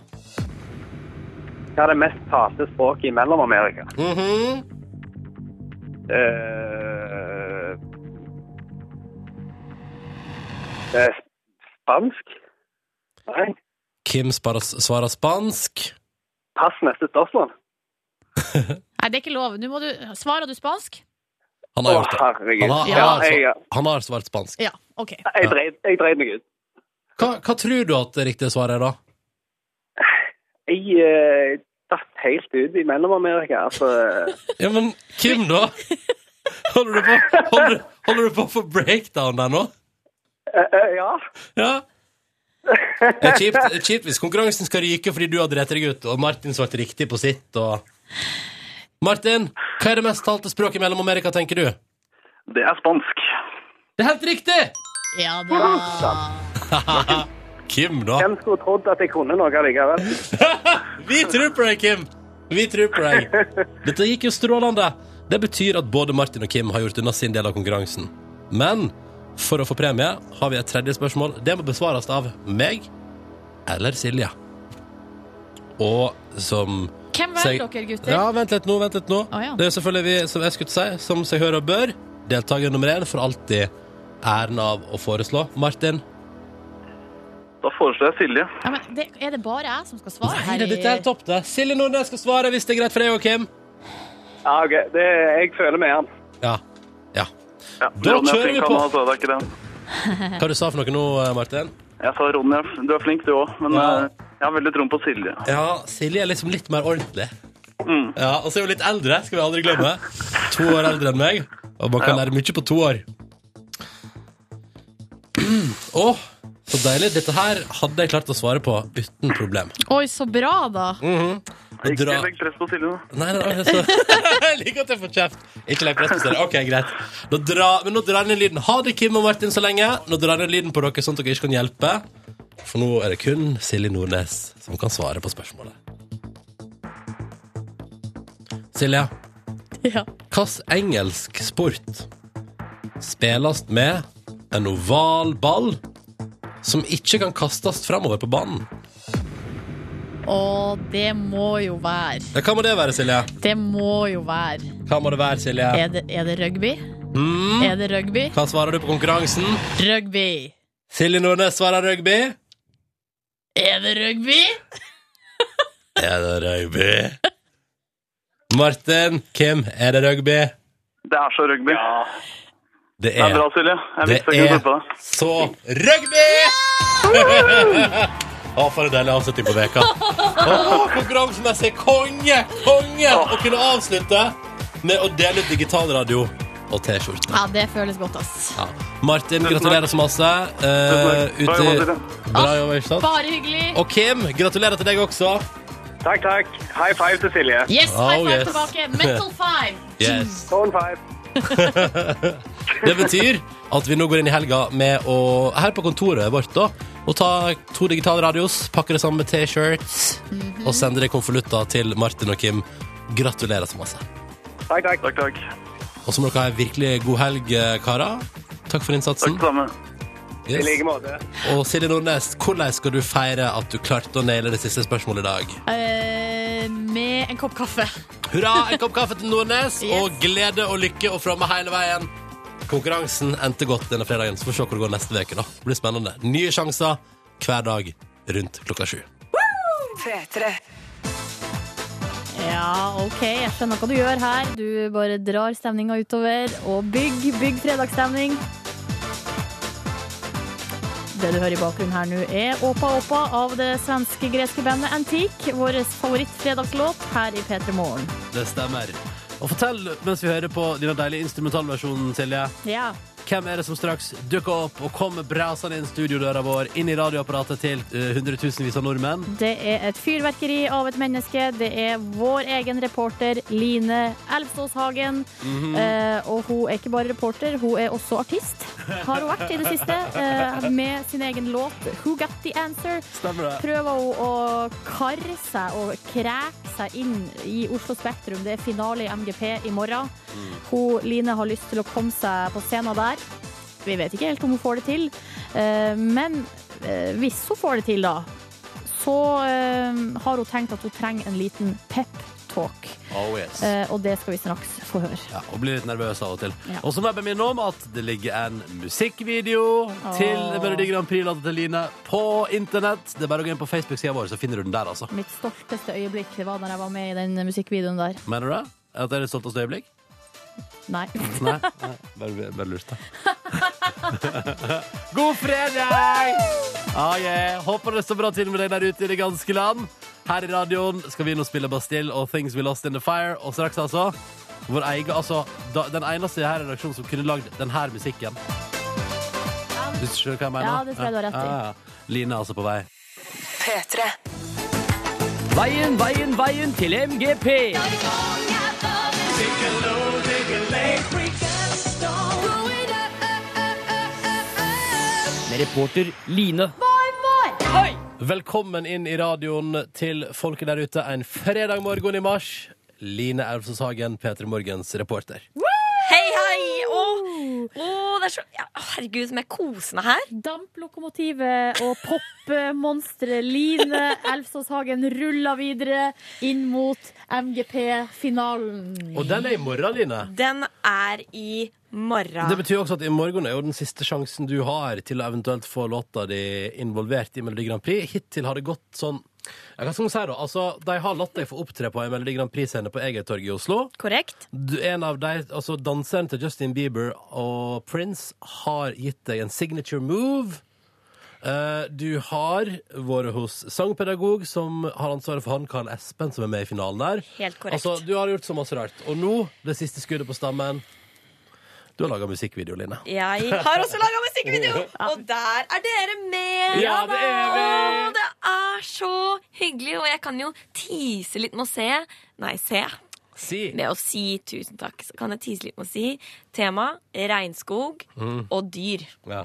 Hva er det mest talte språket i Mellom-Amerika? Mhm. Eh, det er eh, spansk? Nei. Kim sparer- svarer spansk. Pass neste spørsmål. Nei, det er ikke lov. Nå må du Svarer du spansk? Han har Å, gjort det. herregud. Han har, han Ja, har, jeg- svar- han har svart spansk. Ja. OK. Jeg dreide, jeg dreide meg ut. Hva, hva tror du at det riktige svaret er, da? Jeg eh, datt helt ut i Mellom-Amerika. Altså, Ja, men Kim, da? Holder du på, holder, du- holder du på for breakdown der nå? Eh, ja. Ja. Det er kjipt, det er kjipt hvis konkurransen skal ryke fordi du har drept deg ut, og Martin svarte riktig på sitt, og Martin, hva er det mest talte språket mellom Amerika, tenker du? Det er spansk. Det er helt riktig! *laughs* Ja Kim, da? Hvem skulle trodd at jeg kunne noe likevel? *laughs* Vi tror på deg, Kim! Vi tror på deg. Dette gikk jo strålende. Det betyr at både Martin og Kim har gjort unna sin del av konkurransen. Men for å få premie har vi et tredje spørsmål. Det må besvares av meg eller Silje. Og som Hvem seg- velger dere, gutter? Ja, vent litt nå, vent litt nå. Å, ja. Det er selvfølgelig vi, som jeg skulle si, som seg hører og bør, deltaker nummer én får alltid æren av å foreslå. Martin? Da foreslår jeg Silje. Ja, men det, er det bare jeg som skal svare Nei, her? det, dette er topp, det. Silje Nordnes skal svare hvis det er greit for deg og Kim. Ja, ok. Det, jeg føler med han. Ja. ja. Da Da Ronny er kjører vi flink, på. han altså, det er ikke det. Hva du sa for noe nå, Martin? Jeg sa Ronny, er f- du er flink du òg, men Ja. eh, jeg har veldig troen på Silje. Mm. Ja, Silje er liksom litt mer ordentlig. Ja, Og så er hun litt eldre, skal vi aldri *laughs* glemme. To år eldre enn meg. Og man kan lære mye på to år. *clears throat* Å, så deilig. Dette her hadde jeg klart å svare på uten problem. Oi, så bra, da. *laughs* Mhm. Og Ikke dra- legg press på Silje nå. Nei, nei, nei, så... *laughs* Jeg liker at jeg får kjeft. Ikke legg press på stedet. Ok, greit. Nå dra... Men nå drar jeg ned lyden. Ha det, Kim og Martin, så lenge. Nå drar jeg ned lyden på dere, sånn at dere ikke kan hjelpe. For nå er det kun Silje Nordnes som kan svare på spørsmålet. Silje, *laughs* Ja. hvilken engelsk sport spilles med en oval ball som ikke kan kastes framover på banen? Og det må jo være Ja, hva må det være, Silje? Det må jo være Hva må det være, Silje? Er det, er det rugby? Mm. Er det rugby? Hva svarer du på konkurransen? Rugby. Silje Nordnes svarer rugby. Er det rugby? Er det rugby? Martin, Kim, er det rugby? Det er så rugby. Det Det er er, bra, Silje. Jeg det visste jeg kunne er tro på det. så rugby! *laughs* Å, for en deilig avslutning på veka. Å, konkurransemessig konge, konge! Å kunne avslutte med å dele ut digitalradio og T-skjorte. Ja, det føles godt, ass. Ja. Martin, gratulerer så masse. Eh, Tusen takk. Bra jobba, ute... Bra jobba, ikke sant? Bare hyggelig. Og Kim, gratulerer til deg også. Takk, takk. High five til Silje. Yes, high Oh, five yes. tilbake. *laughs* Metal five. Yes. Tone five. Det betyr at vi nå går inn i helga med å Her på kontoret vårt, da. Og ta to digitale radios, pakke det sammen med T-shirts og sende det i konvolutter til Martin og Kim. Gratulerer så masse. Takk, takk. Takk, takk. Og så må dere ha en virkelig god helg, karer. Takk for innsatsen. Takk det samme. I Yes. like måte. Og Silje Nordnes, hvordan skal du feire at du klarte å naile det siste spørsmålet i dag? Eh, med en kopp kaffe. Hurra, en kopp kaffe til Nordnes, og glede og lykke og fromme hele veien. Konkurransen endte godt denne fredagen, så får vi se hvor det går neste uke. da. Det blir spennende. Nye sjanser hver dag rundt klokka sju. Ja, OK, jeg skjønner hva du gjør her. Du bare drar stemninga utover og bygg, bygg fredagsstemning. Det du hører i bakgrunnen her nå, er Åpa Åpa av det svenske-greske bandet Antique. Vår favorittfredagslåt her i P3 Morgen. Det stemmer. Og fortell mens vi hører på denne deilige instrumentalversjonen, Silje. Ja. hvem er det som straks dukker opp og kommer brasende inn studiodøra vår, inn i radioapparatet til eh, hundretusenvis av nordmenn? Det er et fyrverkeri av et menneske. Det er vår egen reporter Line Elvstås Hagen. Mhm. eh, og hun er ikke bare reporter, hun er også artist. Har hun vært i det siste eh, med sin egen låt 'Who Got The Answer'. Stemmer det. Prøver hun å karre seg og kreke seg inn i Oslo Spektrum. Det er finale i MGP i morgen. Hun, Line har lyst til å komme seg på scenen der. Vi vet ikke helt om hun får det til, eh, men eh, hvis hun får det til, da, så eh, har hun tenkt at hun trenger en liten pep-talk. Oh yes. og det skal vi straks få høre. Ja, og blir litt nervøs av og til. Ja. Og så må jeg bare minne om at det ligger en musikkvideo til Melodi Grand Prix-låta til Line på internett. Det er bare å gå inn på Facebook-sida vår, så finner du den der, altså. Mitt stolteste øyeblikk det var da jeg var med i den musikkvideoen der. Mener du det? At det er ditt stolteste øyeblikk? Nei. *laughs* *laughs* Nei? Nei. Bare, bare lurt, da. God fredag! ah, yeah. Håper det står bra til med deg der ute i det ganske land. Her i radioen skal vi nå spille Bastille og Things We Lost In The Fire, og straks altså vår egen, altså, da, Den eneste her i redaksjonen som kunne lagd denne musikken. Du skjønner hva jeg mener? Ja, det tror jeg du har rett i. Ja, ja, ja. Line er altså på vei. P3. Veien, veien, veien til MGP. Med reporter Line. Oi! Velkommen inn i radioen til folket der ute en fredag morgen i mars. Line Elvsås Hagen, P3 Morgens reporter. Hei, hei! Åh, åh, det er så ja, Herregud, som jeg koser meg her. Damplokomotivet og popmonsteret Line Elfsås Hagen ruller videre inn mot MGP-finalen. Og den er i morgen, Line. Den er i morgen. Det betyr også at i morgen er jo den siste sjansen du har til å eventuelt få låta di involvert i Melodi Grand Prix. Hittil har det gått sånn ja, Hva skal man si, da? Altså, de har latt deg få opptre på en Melodi Grand Prix-scene på Egertorget i Oslo. Korrekt. Du, en av de, altså Danseren til Justin Bieber og Prince har gitt deg en signature move. Eh, du har vært hos sangpedagog, som har ansvaret for han Karl Espen, som er med i finalen der. Helt korrekt. Altså, du har gjort så masse rart. Og nå, det siste skuddet på stammen Du har laga musikkvideo, Line. Jeg har også laga musikkvideo, og der er dere med! Ja, det er vi! Åh, det er så hyggelig, og jeg kan jo tease litt med å se. Nei, se. Med å si tusen takk, så kan jeg tease litt med å si. Tema regnskog Mm. og dyr. Ja.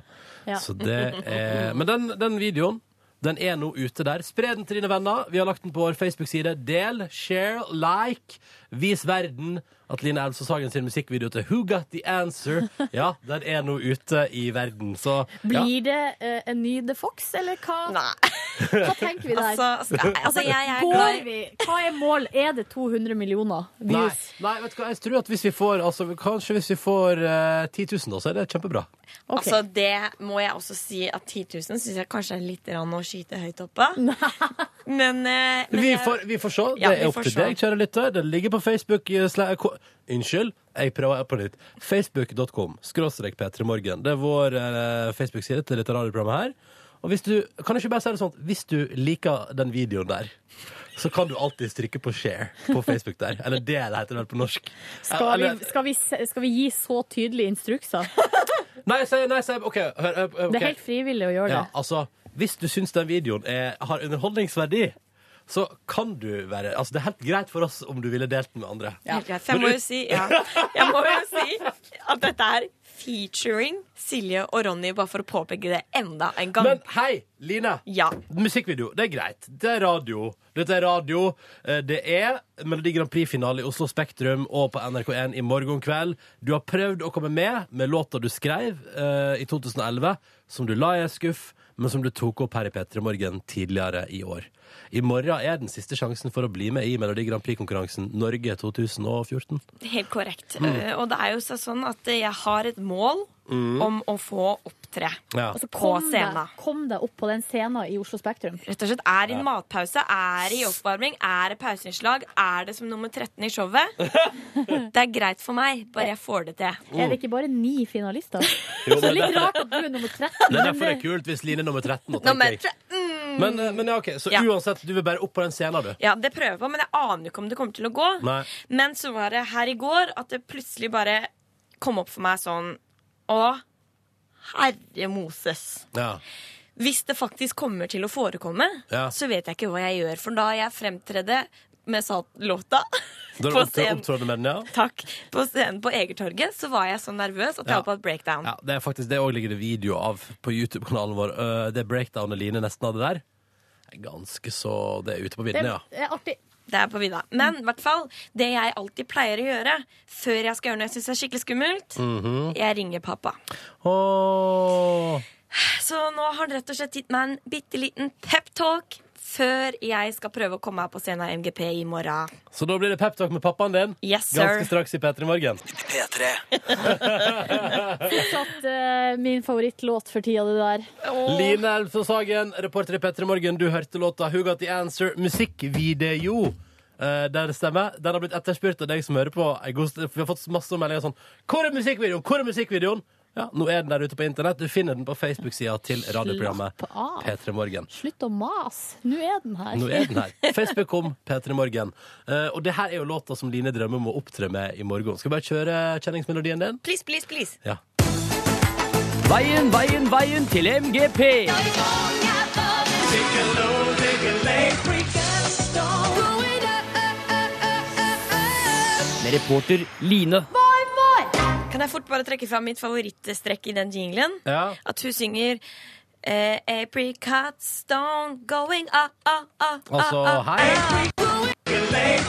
Ja. Så det er Men den, den videoen den er nå ute der. Spre den til dine venner. Vi har lagt den på vår Facebook-side. Del, share, like. Vis verden at Line Elvsås Hagen sin musikkvideo til Who Got The Answer Ja, den er nå ute i verden. Så ja. Blir det eh, en ny The Fox, eller hva? Hva tenker vi der? Altså, skal- altså, jeg er Går glad- vi? Hva er mål? Er det 200 millioner Nei, views? nei, vet du hva, jeg tror at hvis vi får altså, Kanskje hvis vi får eh, 10 000, da, så er det kjempebra. Altså, det må jeg også si at 10 000 syns jeg kanskje er litt rann å skyte høyt oppe. Men, eh, men vi, jeg- får, vi får se. Det Ja, vi er opp får til se. deg, kjære lytter. Det ligger på Facebook eh, sla- ko- Unnskyld, jeg prøver på nytt. Facebook.com skråstrek P3morgen. Det er vår eh, Facebook-side til dette radioprogrammet her. Og hvis du, kan jeg ikke bare si det sånn at hvis du liker den videoen der, så kan du alltid trykke på share på Facebook der. Eller det det heter vel på norsk. Skal vi, Eller- skal, vi, se- skal vi gi så tydelige instrukser? Nei, si, nei, si, OK, hør. hør, hør, Det *laughs* ok. er helt frivillig å gjøre det. Ja, altså, hvis du syns den videoen er, har underholdningsverdi, så kan du være Altså, det er helt greit for oss om du ville delt den med andre. Helt greit. For jeg må Men ut- jo si, ja, jeg må jo si at dette er featuring Silje og Ronny, bare for å påpeke det enda en gang. Men hei, Line. Musikkvideo, det er greit. Det er radio. Dette er radio. Eh, Det er Melodi Grand Prix-finale i Oslo Spektrum og på NRK1 i morgen kveld. Du har prøvd å komme med med låta du skrev eh, i 2011, som du la i en skuff, men som du tok opp her i P3 Morgen tidligere i år. I morgen er den siste sjansen for å bli med i Melodi Grand Prix-konkurransen Norge 2014. Helt korrekt. Mm. Eh, Og det er jo så sånn at jeg har et mål Mm. om å få opptre Ja. Altså, på kom scenen. Deg, kom deg opp på den scenen i Oslo Spektrum. Rett og slett er i Ja. en matpause, er i oppvarming, er det pauseinnslag, er det som nummer 13 i *laughs* showet. Det er greit for meg, bare jeg får det til. Er det ikke bare *laughs* ni finalister? Mm. Jo, Så men litt det- rart at du er nummer 13. Det er men derfor det er kult hvis Line er nummer 13. nå, tenker jeg. Men, eh, men ja, ok, Så Ja. uansett, du vil bare opp på den scenen, du? Ja, det prøver jeg på, men jeg aner jo ikke om det kommer til å gå. Nei. Men så var det her i går at det plutselig bare kom opp for meg sånn Å, herre Moses. Ja. Hvis det faktisk kommer til å forekomme, Ja. så vet jeg ikke hva jeg gjør. For da jeg fremtredde med sal- låta Da på er det scenen, opptrådte med den, ja. takk, på scenen på Egertorget, så var jeg så nervøs at jeg Ja. holdt på et breakdown. Ja, det er faktisk det òg ligger det video av på YouTube-kanalen vår. Eh, Det breakdownet Line nesten hadde der. er Ganske så Det er ute på viddene, ja. er artig. Det er på vidda. Men i hvert fall, det jeg alltid pleier å gjøre før jeg skal gjøre noe jeg syns er skikkelig skummelt, Mhm. jeg ringer pappa. Åh. Så nå har han rett og slett gitt meg en bitte liten peptalk før jeg skal prøve å komme meg på scenen av MGP i morgen. Så da blir det peptalk med pappaen din Yes, sir. ganske straks i P3 Morgen. P3. Fortsatt eh, min favorittlåt for tida, det der. Line Elvsås Hagen, reporter i P3 Morgen, du hørte låta Who Got The Answer musikkvideo. Eh, der det stemmer. Den har blitt etterspurt av deg som hører på. en god stund. Vi har fått masse meldinger sånn Hvor er musikkvideoen? Hvor er musikkvideoen? Ja, Nå er den der ute på internett. Du finner den på Facebook-sida til radioprogrammet Slapp av. P3 Morgen. Slutt å mase. Nå er den her. Nå er den *laughs* her. Facebook om P3 Morgen. Eh, og det her er jo låta som Line drømmer om å opptre med i morgen. Skal vi bare kjøre kjenningsmelodien din? Please, please, please. Ja. Veien, veien, veien til MGP. Med reporter Line. Kan jeg fort bare trekke fram mitt favorittstrekk i den jinglen? At hun synger eh, Apricots don't going ah, up, up, up, up, Altså, up, hei. up.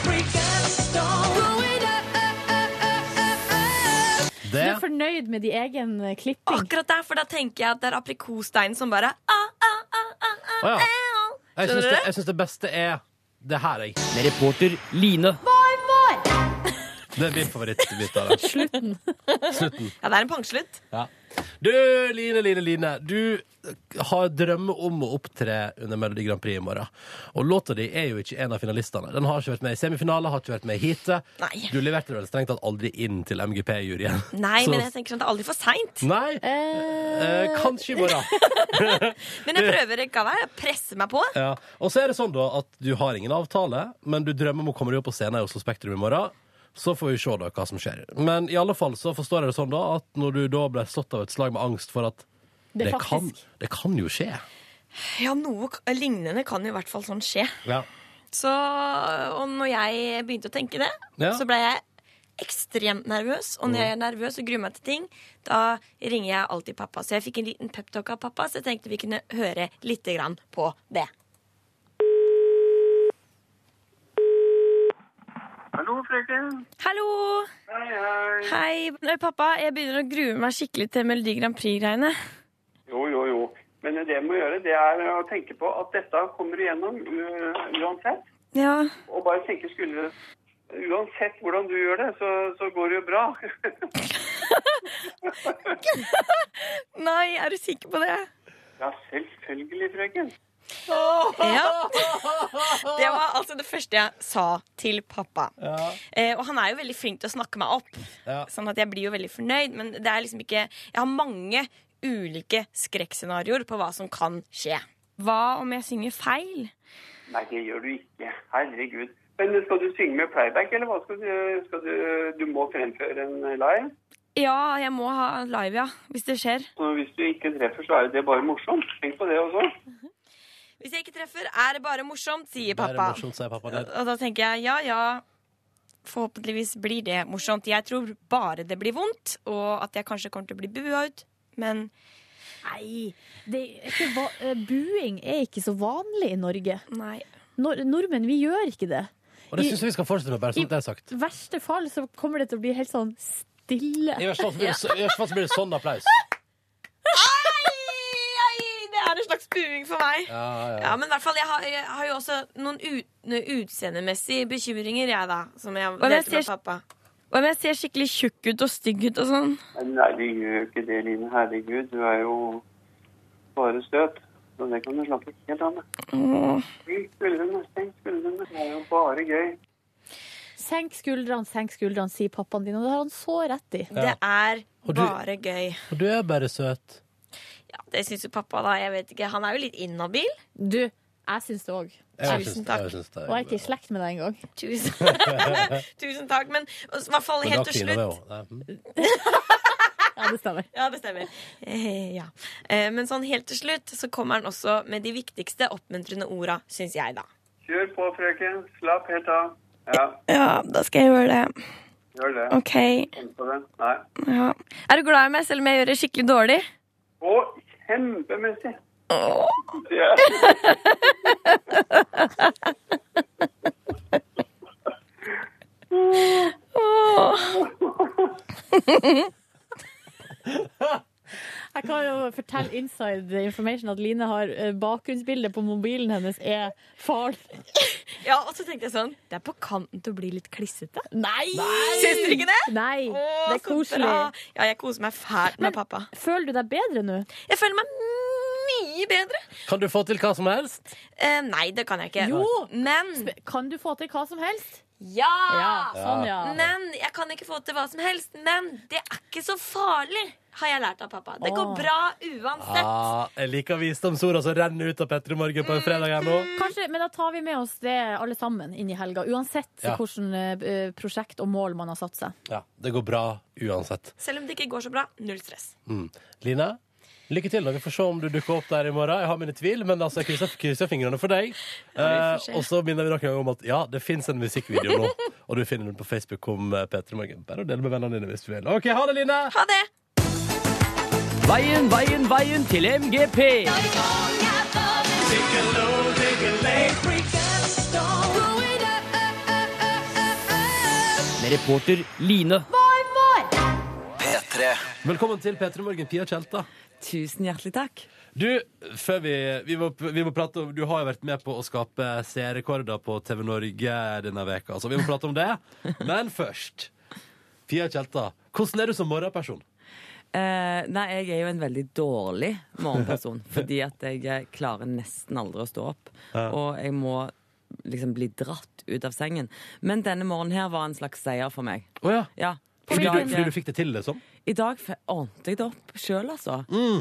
Du er fornøyd med din egen eh, klipping? Akkurat der, for da tenker jeg at det er aprikosteinen som bare ah, Å ja. Skjønner Jeg syns du? det, jeg syns det beste er det her, jeg. Med reporter Line. Det er min favorittbit av det. Slutten. Slutten. Ja, det er en pangslutt. Ja. Du, Line, Line, Line. Du har drømmer om å opptre under Melodi Grand Prix i morgen. Og låta di er jo ikke en av finalistene. Den har ikke vært med i semifinale, har ikke vært med i heatet. Nei. Du leverte vel strengt tatt aldri inn til MGP-juryen. Nei, Så- men jeg tenker sånn at det er aldri for seint. Nei. Eh, kanskje i morgen. Men jeg prøver likevel. Jeg presser meg på. Ja. Og så er det sånn da at du har ingen avtale, men du drømmer om å komme deg opp på scenen i Oslo Spektrum i morgen. Så får vi se da hva som skjer. Men i alle fall så forstår jeg det sånn da at når du da ble slått av et slag med angst for at Det det, kan, faktisk- det kan jo skje. Ja, noe k- lignende kan i hvert fall sånn skje. Ja. Så, og når jeg begynte å tenke det, Ja. så ble jeg ekstremt nervøs. Og når jeg er nervøs og gruer meg til ting, da ringer jeg alltid pappa. Så jeg fikk en liten peptalk av pappa, så jeg tenkte vi kunne høre litt grann på det. Hallo, frøken. Hallo! Hei, hei. Hei, eh, pappa. Jeg begynner å grue meg skikkelig til Melodi Grand Prix-greiene. Jo, jo, jo. Men det du må gjøre, det er å tenke på at dette kommer du gjennom u- uansett. Ja. Og bare tenke skulle Uansett hvordan du gjør det, så, så går det jo bra. *laughs* Nei, er du sikker på det? ja, selvfølgelig, frøken. Ja. *laughs* Det var altså det første jeg sa til pappa. Eh, og han er jo veldig flink til å snakke meg opp, Ja. sånn at jeg blir jo veldig fornøyd. Men det er liksom ikke Jeg har mange ulike skrekkscenarioer på hva som kan skje. Hva om jeg synger feil? Nei, det gjør du ikke. Herregud. Men skal du synge med playback, eller hva skal du Skal du, du må fremføre en live? Ja, jeg må ha live, ja. Hvis det skjer. Så hvis du ikke treffer, så er det bare morsomt. Tenk på det også. Hvis jeg ikke treffer, er det bare morsomt, sier pappa. sier pappa. Og da tenker jeg ja, ja. Forhåpentligvis blir det morsomt. Jeg tror bare det blir vondt, og at jeg kanskje kommer til å bli bua ut. Men Nei, det er ikke va eh, buing er ikke så vanlig i Norge. Nor nordmenn, vi gjør ikke det. Og det I- syns jeg vi skal fortsette med, bare sånn at det er *laughs* sagt. I verste fall så kommer det til å bli helt sånn stille. I verste fall så blir *laughs* det, så- i verste fall så blir det sånn applaus. Ai, det er en slags buing for meg. Ja, ja. Ja, men i hvert fall, jeg har, jeg har jo også noen ut, utseendemessige bekymringer, jeg, da. Som jeg om jeg delte med ser- pappa. Hva om jeg ser skikkelig tjukk ut og stygg ut og sånn? Nei, du gjør ikke det, Line. Herregud, du er jo bare støt. Så det kan du slappe helt av med. Senk skuldrene, senk skuldrene. Det er jo bare gøy. Senk skuldrene, senk skuldrene, sier pappaen din. Og det har han så rett i. Det er Og du- bare gøy. Og du er bare søt. Ja, det syns jo pappa, da. Jeg vet ikke. Han er jo litt inhabil. Du, jeg syns det òg. Jeg Tusen syns- takk. jeg syns det Og jeg er *laughs* ikke i slekt med deg engang. Tusen, Tusen takk. Men i hvert fall Men helt da til slutt kliner vi jo. Nei, mm. Ja, det stemmer. Ja, det stemmer. Eh, ja. Eh, men sånn helt til slutt så kommer han også med de viktigste oppmuntrende orda, syns jeg, da. Kjør på, frøken. Slapp helt av. Ja, Ja, da skal jeg gjøre det. gjør det. Ok. Tenk på det. Nei. Ja. Er du glad i meg, selv om jeg gjør det skikkelig dårlig? Å, kjempemessig. Ja. *laughs* Jeg kan jo fortelle inside information at Line har eh, bakgrunnsbildet på mobilen hennes er faren. Ja, og så tenkte jeg sånn Det er på kanten til å bli litt klissete. Nei! Syns dere ikke det? Nei, Å, det er så koselig. bra. Ja, jeg koser meg fælt med pappa. Føler du deg bedre nå? Jeg føler meg mye bedre. Kan du få til hva som helst? Eh, nei, det kan jeg ikke. Jo! Men Kan du få til hva som helst? ja! Ja, sånn, ja. Men jeg kan ikke få til hva som helst. Men det er ikke så farlig, har jeg lært av pappa. Det går Åh. bra uansett. Ja, Ah, jeg liker visdomsorda som renner ut av Petter i morgen på en fredag her nå. Kanskje, men da tar vi med oss det alle sammen inn i helga. Uansett Ja. hvilket prosjekt og mål man har satt seg. Ja, det går bra uansett. Selv om det ikke går så bra, null stress. Mm. Line, lykke til. da. Vi får se om du dukker opp der i morgen. Jeg har mine tvil, men altså, jeg krysser, krysser fingrene for deg. Ja, vi får se. eh, og så minner vi noen gang om at ja, det fins en musikkvideo nå, og du finner den på Facebook om eh, Petter i morgen. Bare å dele med vennene dine hvis du vil. OK, ha det, Line! Ha det! Veien, veien, veien til MGP. Med reporter Line. P3. Velkommen til P3 Morgen, Pia Tjelta. Tusen hjertelig takk. Du, før vi, vi, må, vi må prate om Du har jo vært med på å skape seerrekorder på TV Norge denne veka så vi må prate om det. Men først, Pia Tjelta, hvordan er du som morgenperson? Eh, nei, jeg er jo en veldig dårlig *laughs* morgenperson. fordi at jeg eh, klarer nesten aldri å stå opp. Ja. Og jeg må liksom bli dratt ut av sengen. Men denne morgenen her var en slags seier for meg. Oh, ja. I Fordi dag, du, fordi eh, du fikk det til, liksom? Mm. I dag fe- ordnet jeg det opp sjøl, altså.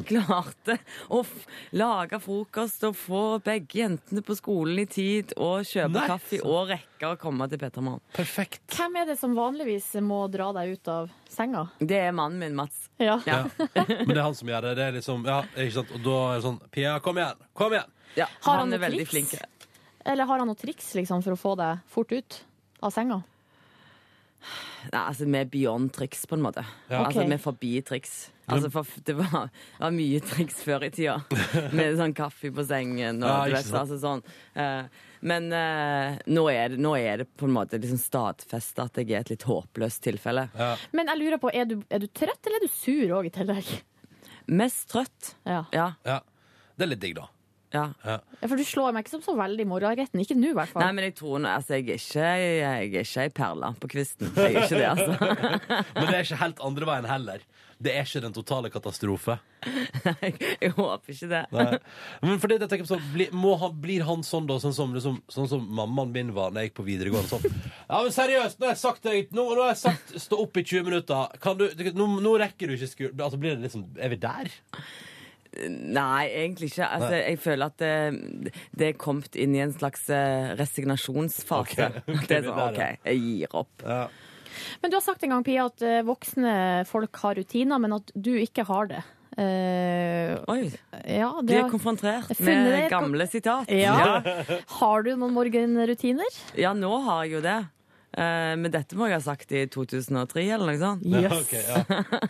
Klarte å f lage frokost og få begge jentene på skolen i tid og kjøpe Nei, kaffe og rekke å komme til Petermann. Perfekt. Hvem er det som vanligvis må dra deg ut av senga? Det er mannen min, Mats. Ja. *laughs* Ja. Men det er han som gjør det. det er liksom, ja, ikke sant? Og da er det sånn Pia, kom igjen! Kom igjen! Har han han er noe veldig triks? flink. Eller har han noe triks liksom, for å få deg fort ut av senga? Nei, altså vi er beyond triks, på en måte. Ja. Altså Ok. vi er forbi triks. Altså, for, f- det, var, det var mye triks før i *laughs* tida, med sånn kaffe på sengen og Ja, du ikke vet, sant. altså sånn. Eh, men eh, nå, er det, nå er det på en måte liksom stadfesta at jeg er et litt håpløst tilfelle. Men jeg lurer på, er du, er du trøtt, eller er du sur òg i tillegg? Mest trøtt. Ja. Ja. Ja. Det er litt digg, da. Ja. Ja, For du slår meg ikke som så veldig morgenretten. Ikke nå, i hvert fall. Nei, men jeg tror nå Altså, jeg er ikke, jeg er ikke ei perle på kvisten. Jeg er ikke det, altså. *laughs* Men det er ikke helt andre veien heller. Det er ikke den totale katastrofe. Jeg håper ikke det. Nei. Men fordi at jeg tenker på sånn, bli, må han, Blir han sånn, da? Sånn som, liksom, sånn som mammaen min var da jeg gikk på videregående? Sånn. Ja, men seriøst, nå har jeg sagt deg Nå, nå har jeg sagt stå opp i 20 minutter. Kan du, du- nå, nå rekker du ikke skolen. Altså, blir det liksom Er vi der? Nei, egentlig ikke. Altså, Nei. jeg føler at det, det er kommet inn i en slags eh, resignasjonsfase. Ok, ok, det er sånn, det er det. OK, jeg gir opp. Men du har sagt en gang, Pia, at eh, voksne folk har rutiner, men at du ikke har det. Eh, Oi. Ja, Du er konfrontert Jeg funnet med det- gamle sitat. Ja. *laughs* Ja. Har du noen morgenrutiner? Ja, nå har jeg jo det. Eh, men dette må jeg ha sagt i 2003 eller noe sånt. Ja, ok, ja.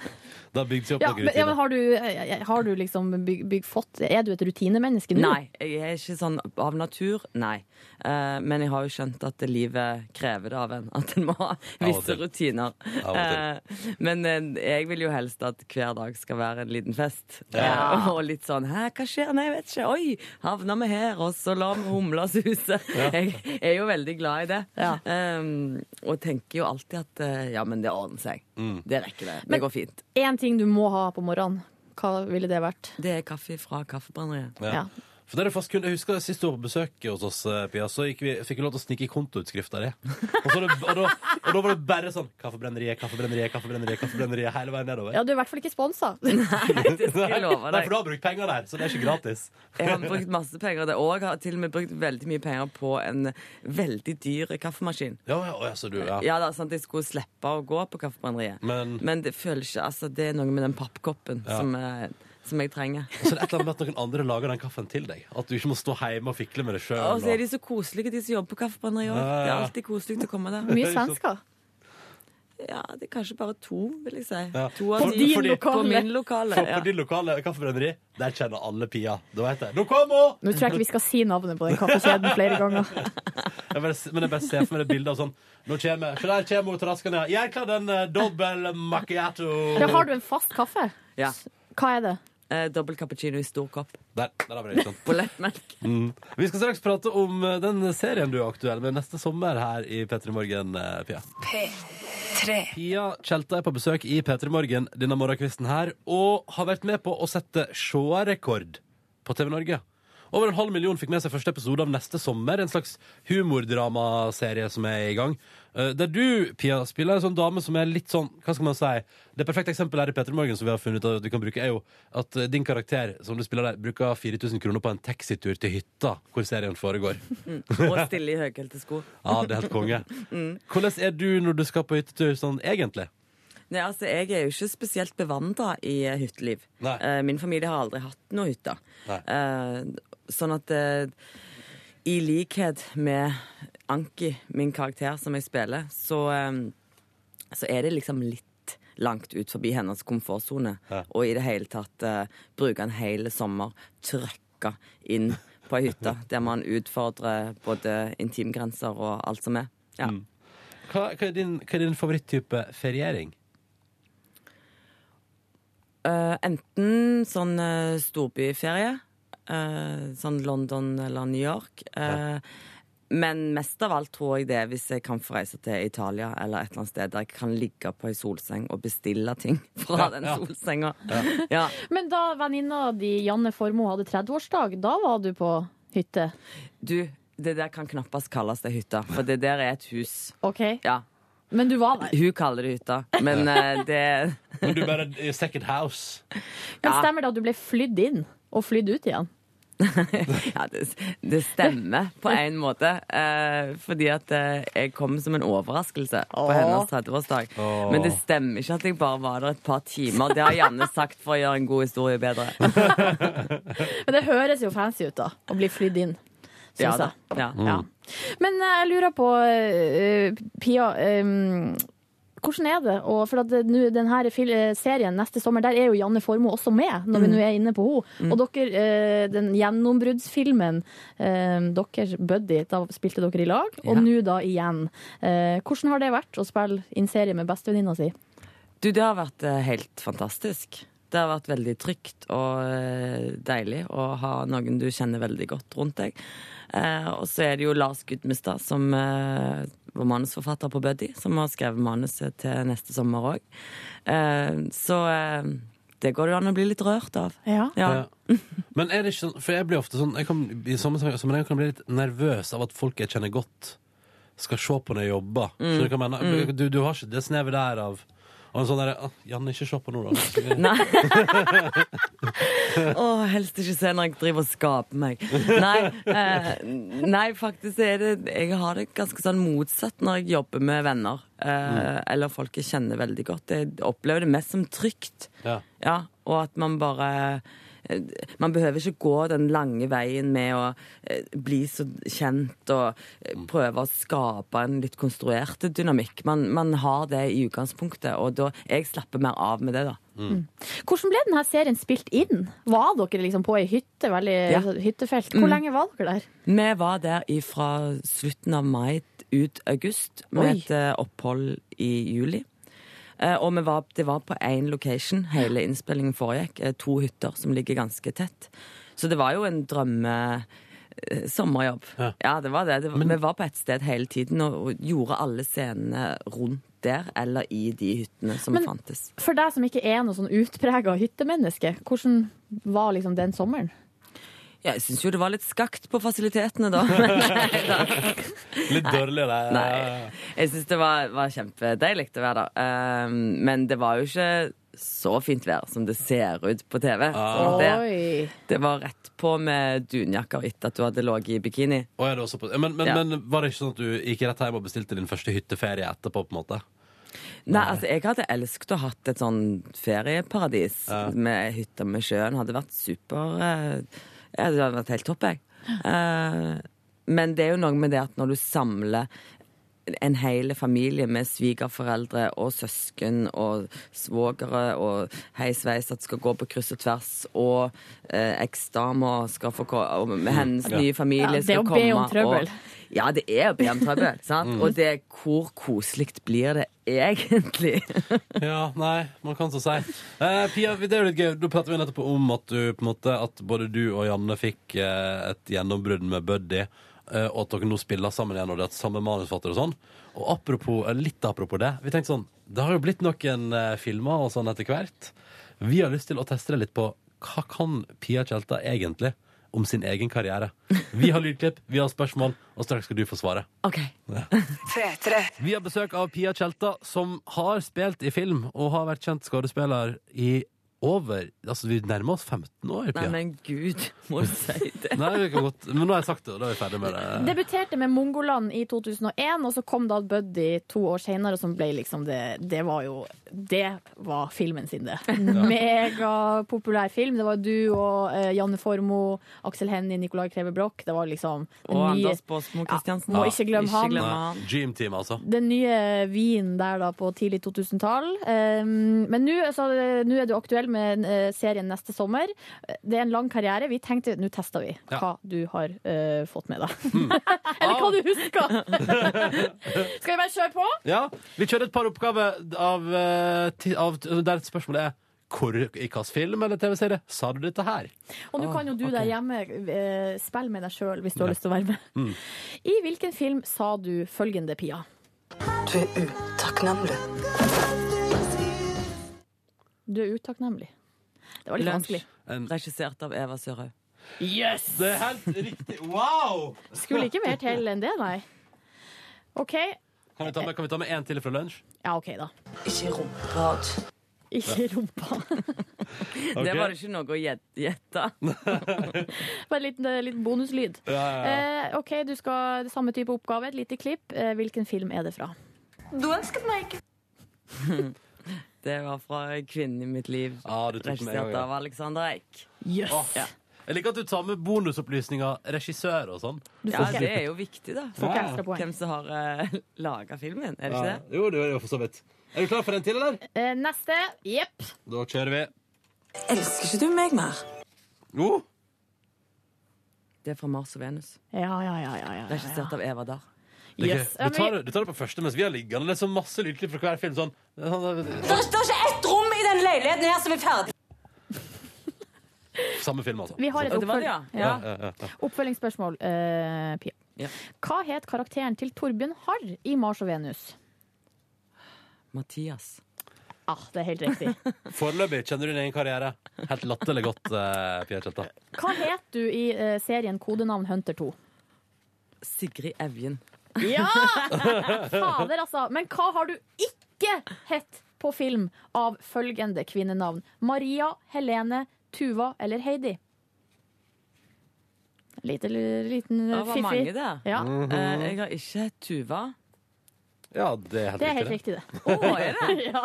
*laughs* Da bygde seg opp Ja, noen men, ja, men rutiner. har du, eh, har du liksom bygg, bygg fått Er du et rutinemenneske nå? Nei, jeg er ikke sånn av natur, nei. Eh, men jeg har jo skjønt at livet krever det av en. At en må ha Av og visse til. rutiner. Av og til. Eh, men eh, jeg vil jo helst at hver dag skal være en liten fest. Ja. Eh, og litt sånn Hæ, hva skjer? Nei, jeg vet ikke. Oi, havna vi her? Og så lar vi humla suse. Jeg er jo veldig glad i det. Eh, og tenker jo alltid at eh, ja, men det ordner seg. Mm. Det rekker det. Det går fint. Én ting du må ha på morgenen. Hva ville det vært? Det er kaffe fra Kaffebrenneriet. Ja. For det er det fast kunde. Jeg husker sist du var på besøk hos oss, eh, Pia, så gikk vi, fikk vi lov til å snike i kontoutskrifta di. Og, så det- og, da- og da var det bare sånn Kaffebrenneriet, kaffebrenneriet, kaffebrenneriet, kaffebrenneriet hele veien nedover. Ja, du er i hvert fall ikke sponsa. Nei, jeg love deg. *laughs* Nei, for du har brukt penger der, så det er ikke gratis. *laughs* Jeg har brukt masse penger av det, og jeg har til og med brukt veldig mye penger på en veldig dyr kaffemaskin. Ja, ja, ja, så du, ja. Ja, da, sånn at jeg skulle slippe å gå på kaffebrenneriet. Men- det føler ikke, altså, det er noe med den pappkoppen Ja. som, eh, som jeg trenger. Og så er det et eller annet med at noen andre lager den kaffen til deg. At du ikke må stå hjemme og fikle med det sjøl. Og så er de så koselige, de som jobber på kaffebrenneriet òg. Ja, ja, Det er ja. alltid koselig å komme der. *laughs* Mye svensker. Ja, det er kanskje bare to, vil jeg si. Ja. To av For- de fordi- på min lokale. For på din lokale kaffebrenneri, der kjenner alle Pia. Da vet jeg. Nå kom hun! Nå tror jeg ikke vi skal si navnet på den kaffekjeden flere ganger. Jeg bare, men jeg bare ser for meg det bildet av sånn Nå kommer, Se der kommer hun traskende. Jeg klarer en uh, dobbel macchiato. Ja, har du en fast kaffe? Ja. Hva er det? Eh, Dobbel cappuccino i stor kopp. Der, der har vi det. ikke sant? *laughs* På lettmelk. Mm. Vi skal straks prate om eh, den serien du er aktuell med neste sommer her i P3 Morgen, eh, Pia. P3. Pia Tjelta er på besøk i P3 Morgen denne morgenkvisten her, og har vært med på å sette seerrekord på TV Norge. Over en halv million fikk med seg første episode av Neste sommer, en slags humordramaserie som er i gang. Eh, Der du, Pia, spiller en sånn dame som er litt sånn Hva skal man si? Det perfekte eksempelet her i P3 Morgen som vi har funnet ut at vi kan bruke, er jo at eh, din karakter som du spiller der, bruker 4000 kroner på en taxitur til hytta hvor serien foregår. Mm. Og stille i høyhælte sko. Ja, det er helt konge. *laughs* Mm. Hvordan er du når du skal på hyttetur sånn egentlig? Nei, altså, Jeg er jo ikke spesielt bevandra i eh, hytteliv. Eh, Min familie har aldri hatt noe hytte. Eh, Sånn at eh, i likhet med Anki, min karakter som jeg spiller, så, eh, så er det liksom litt langt ut forbi hennes komfortsone. Og i det hele tatt eh, bruke en hel sommer trøkka inn på ei hytte der man utfordrer både intimgrenser og alt som er. Ja. Hva, hva, er din, hva er din favoritttype feriering? Eh, enten sånn eh, storbyferie, eh, sånn London eller New York. eh, Men mest av alt tror jeg det er hvis jeg kan få reise til Italia eller et eller annet sted der jeg kan ligge på ei solseng og bestille ting *laughs* fra Ja, den ja. solsenga. Ja. Men da venninna di Janne Formoe hadde 30-årsdag, da var du på hytte? Du, det der kan knappast kalles ei hytte, for det der er et hus. OK? Ja. Men du var der? Hun kaller det hytta, *laughs* men eh, det Men du bare i second house. Men stemmer det at du ble flydd inn og flydd ut igjen? Ja, det, det stemmer på en måte. eh, fordi at eh, jeg kom som en overraskelse på Åh. hennes 30-årsdag. Men det stemmer ikke at jeg bare var der et par timer. Det har Janne sagt for å gjøre en god historie *laughs* bedre. Men det høres jo fancy ut, da. Å bli flydd inn, Ja, syns da. jeg. ja. Mm. Men eh, jeg lurer på, eh, Pia eh, hvordan er det? Og for at det- nå, den her fil- eh, serien neste sommer, der er jo Janne Formoe også med, når Mm. vi nå er inne på henne. Og dere, eh, den gjennombruddsfilmen eh, deres, Buddy, da spilte dere i lag, og Ja. nå da igjen. Eh, hvordan har det vært å spille inn serie med bestevenninna si? Du, det har vært eh, helt fantastisk. Det har vært veldig trygt og eh, deilig å ha noen du kjenner veldig godt rundt deg. Eh, og så er det jo Lars Gudmestad, som eh, var manusforfatter på Buddy, som har skrevet manuset til neste sommer òg. Eh, så eh, det går det jo an å bli litt rørt av. Ja. Ja. Men er det ikke sånn For jeg blir ofte sånn jeg kan, I samme sammenheng sammenheng kan jeg bli litt nervøs av at folk jeg kjenner godt, skal se på når jeg jobber. Skjønner du hva jeg mener? Mm. Du, du har ikke det snevet der av og en sånn der, ah, Janne, ikke se på nå, da. *laughs* Nei. Å, helst ikke se når jeg driver og skaper meg. Nei, eh, nei, faktisk er det Jeg har det ganske sånn motsatt når jeg jobber med venner. Eh, Eller folk jeg kjenner veldig godt. Jeg opplever det mest som trygt. Ja. Ja, og at man bare eh, man behøver ikke gå den lange veien med å eh, bli så kjent og eh, prøve å skape en litt konstruert dynamikk. Man, man har det i utgangspunktet, og da jeg slapper mer av med det, da. Hvordan ble denne serien spilt inn? Var dere liksom på ei hytte, veldig Ja. altså, hyttefelt? Hvor Mm. lenge var dere der? Vi var der fra slutten av mai ut august, med Oi. et eh, opphold i juli. Eh, og vi var, det var på én location hele innspillingen foregikk. eh, to hytter som ligger ganske tett. Så det var jo en drømme... eh, Sommerjobb. Ja. det var det. det var, vi var på ett sted hele tiden og, og gjorde alle scenene rundt der eller i de hyttene som Men- fantes. For deg som ikke er noe sånn utprega hyttemenneske, hvordan var liksom den sommeren? Ja, jeg syns jo det var litt skakt på fasilitetene, *laughs* da. Men nei da. Litt dårlig, det. Nei. Jeg syns det var, var kjempedeilig å være der. Um, men det var jo ikke så fint vær som det ser ut på TV. Ah. Så Det, Oi. det var rett på med dunjakker etter at du hadde ligget i bikini. Å, ja, det var såpass. Men, men, Ja. men var det ikke sånn at du gikk rett hjem og bestilte din første hytteferie etterpå? på en måte? Nei, altså jeg hadde elsket å hatt et sånn ferieparadis med hytta med sjøen. Hadde vært super eh, ja, Det hadde vært helt topp, jeg. Eh, men det er jo noe med det at når du samler en hel familie med svigerforeldre og søsken og svogere og heisveis at skal gå på kryss og tvers, og eh, eksdamer skal få ko- og hennes Ja. nye familie Ja, det er skal å be komme om trøbbel. og ja, det er å be om trøbbel. *laughs* sant? Mm. Og det, hvor koselig blir det egentlig? Ja, nei, man kan så si. Eh, Pia, det er jo litt gøy. Du pratet jo nettopp om at, du, på en måte, at både du og Janne fikk eh, et gjennombrudd med Buddy, eh, og at dere nå spiller sammen igjen og dere har hatt samme manusforfatter og sånn. Og apropos, eh, litt apropos det, vi tenkte sånn Det har jo blitt noen eh, filmer og sånn etter hvert. Vi har lyst til å teste det litt på hva kan Pia Tjelta egentlig om sin egen karriere. Vi har lydklipp, vi har spørsmål, og straks skal du få svaret. Ok. Vi har besøk av Pia Tjelta, som har spilt i film og har vært kjent skuespiller i over Altså, vi nærmer oss 15 år, Nei, Pia. men gud, må du si det? *laughs* Nei, vi kan godt, men nå har jeg sagt det, og da er vi ferdig med det. Debuterte med Mongoland i 2001, og så kom da Buddy to år senere, som ble liksom det Det var jo Det var filmen sin, det. Megapopulær film. Det var du og eh, Janne Formoe, Aksel Hennie, Nicolai Kreve Broch. Det var liksom den Og nye- Anders Båsmo Christiansen. må ikke glemme han. Nei, Dream Team, altså. den nye vinen der da på tidlig 2000-tall. Um, men nå altså, nå er du aktuell med eh, serien neste sommer. Det er en lang karriere. Vi tenkte nå tester vi Ja. Hmm. hva du har eh, fått med deg. *laughs* Eller hva du *laughs* husker. Skal vi bare kjøre på? Ja, Vi kjører et par oppgaver av, eh, ti- av der spørsmålet er hvor, i hvilken film eller TV-serie sa du dette her? Og nå kan jo du der hjemme eh, spille med deg sjøl hvis du har Ah, Ja. lyst til å være med. Mm. I hvilken film sa du følgende, Pia? *laughs* Du er utakknemlig. Du er utakknemlig. Det var litt vanskelig. Regissert av Eva Sørhaug. Yes! Det er helt riktig. Wow! Skulle ikke mer til enn det, nei. OK. Kan vi ta med, kan vi ta med en til fra lunsj? Ja, OK, da. Ikke rumpeprat. Ikke rumpa. *laughs* Det var det ikke noe å gjet- gjette. *laughs* Bare en liten, liten bonuslyd. Ja, ja, ja. Eh, OK, du skal det samme type oppgave. Et lite klipp. Eh, hvilken film er det fra? Du ønsket meg ikke. Det var fra 'Kvinnen i mitt liv', Ah, du tok den med en gang, regissert ja. av Alexander Eik. Yes. Jeg liker at du tar med bonusopplysninger, regissør og sånn. Ja, det er jo viktig, da. Får ikke ekstra Hvem som har *laughs* uh, laga filmen, er det ikke det? Ja. Jo, det er jo for så vidt. Er du klar for en til, eller? Eh, neste. Jepp. Da kjører vi. Elsker ikke du meg mer? Jo. Det er fra Mars og Venus. Ja, ja, ja. ja, ja, ja. Regissert av Eva Dahr. Det er Yes. gøy. Du, tar, det- du tar det på første mens vi har liggende. Det er så masse lydklipp fra hver film. Sånn. Det er sånn- Det står ikke ett rom i den leiligheten her som er ferdig. Samme film, altså. Vi har et Sånn. oppfølg- Ja, Ja. ja, ja, ja. Oppfølgingsspørsmål, eh, Pia. Ja. Hva het karakteren til Torbjørn Harr i Mars og Venus? Mathias. Ah, det er helt *laughs* riktig. Foreløpig kjenner du din egen karriere. Helt latterlig godt, eh, Pia Tjelta. Hva het du i eh, serien Kodenavn Hunter 2? Sigrid Evjen. *laughs* Ja! Fader, altså. Men hva har du ikke hett på film av følgende kvinnenavn? Maria, Helene, Tuva eller Heidi? Lite, liten Det eh, var fiffi. mange, det. Ja. Eh, jeg har ikke hett Tuva. Ja, det er helt Det er helt riktig. riktig, det. *laughs* ja.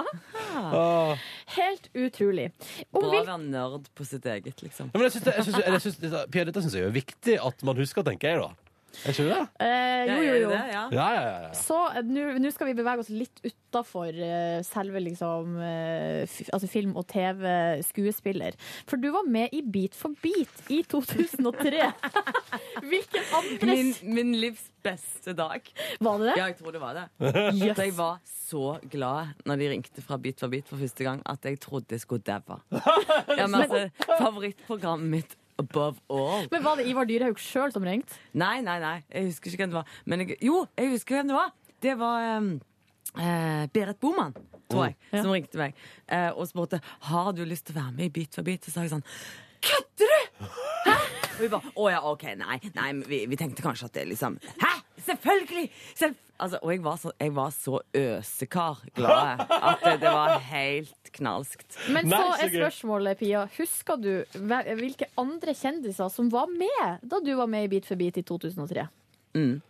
Åh. Helt utrolig. Ah. Om Bra å hvil- være nerd på sitt eget, liksom. Ja, men jeg synes det, jeg synes, jeg synes, dette- Pia, dette syns jeg er viktig at man husker, tenker jeg, da. Er ikke det? Eh, jo, jo, jo. Ja, ja, ja, ja. Så eh, nå nå skal vi bevege oss litt utafor selve liksom, eh, fi- altså film- og TV-skuespiller. For du var med i Beat for beat i 2003. Hvilken andre Min, min livs beste dag. Var det det? Ja, jeg tror det var det. Yes. For jeg var så glad når de ringte fra Bit for bit for første gang, at jeg trodde jeg skulle *laughs* daue. Ja, men altså, favorittprogrammet mitt above all. Men Var det Ivar Dyrhaug sjøl som ringte? Nei, nei, nei. Jeg husker ikke hvem det var. Men jeg, jo, jeg husker hvem det var. Det var um, eh, Berit Boman, tror jeg, Mm. som ringte meg eh, og spurte har du lyst til å være med i Bit for bit. Og så sa jeg sånn Kødder du?! Hæ? Og vi bare Å ja, OK, nei. nei men vi, vi tenkte kanskje at det liksom Hæ? Selvfølgelig! Selv... Altså, og jeg var så, jeg var så øsekar glad jeg, at det, det var helt knalskt. Men så er spørsmålet, Pia, husker du hve- hvilke andre kjendiser som var med da du var med i Beat for beat i 2003? Mm.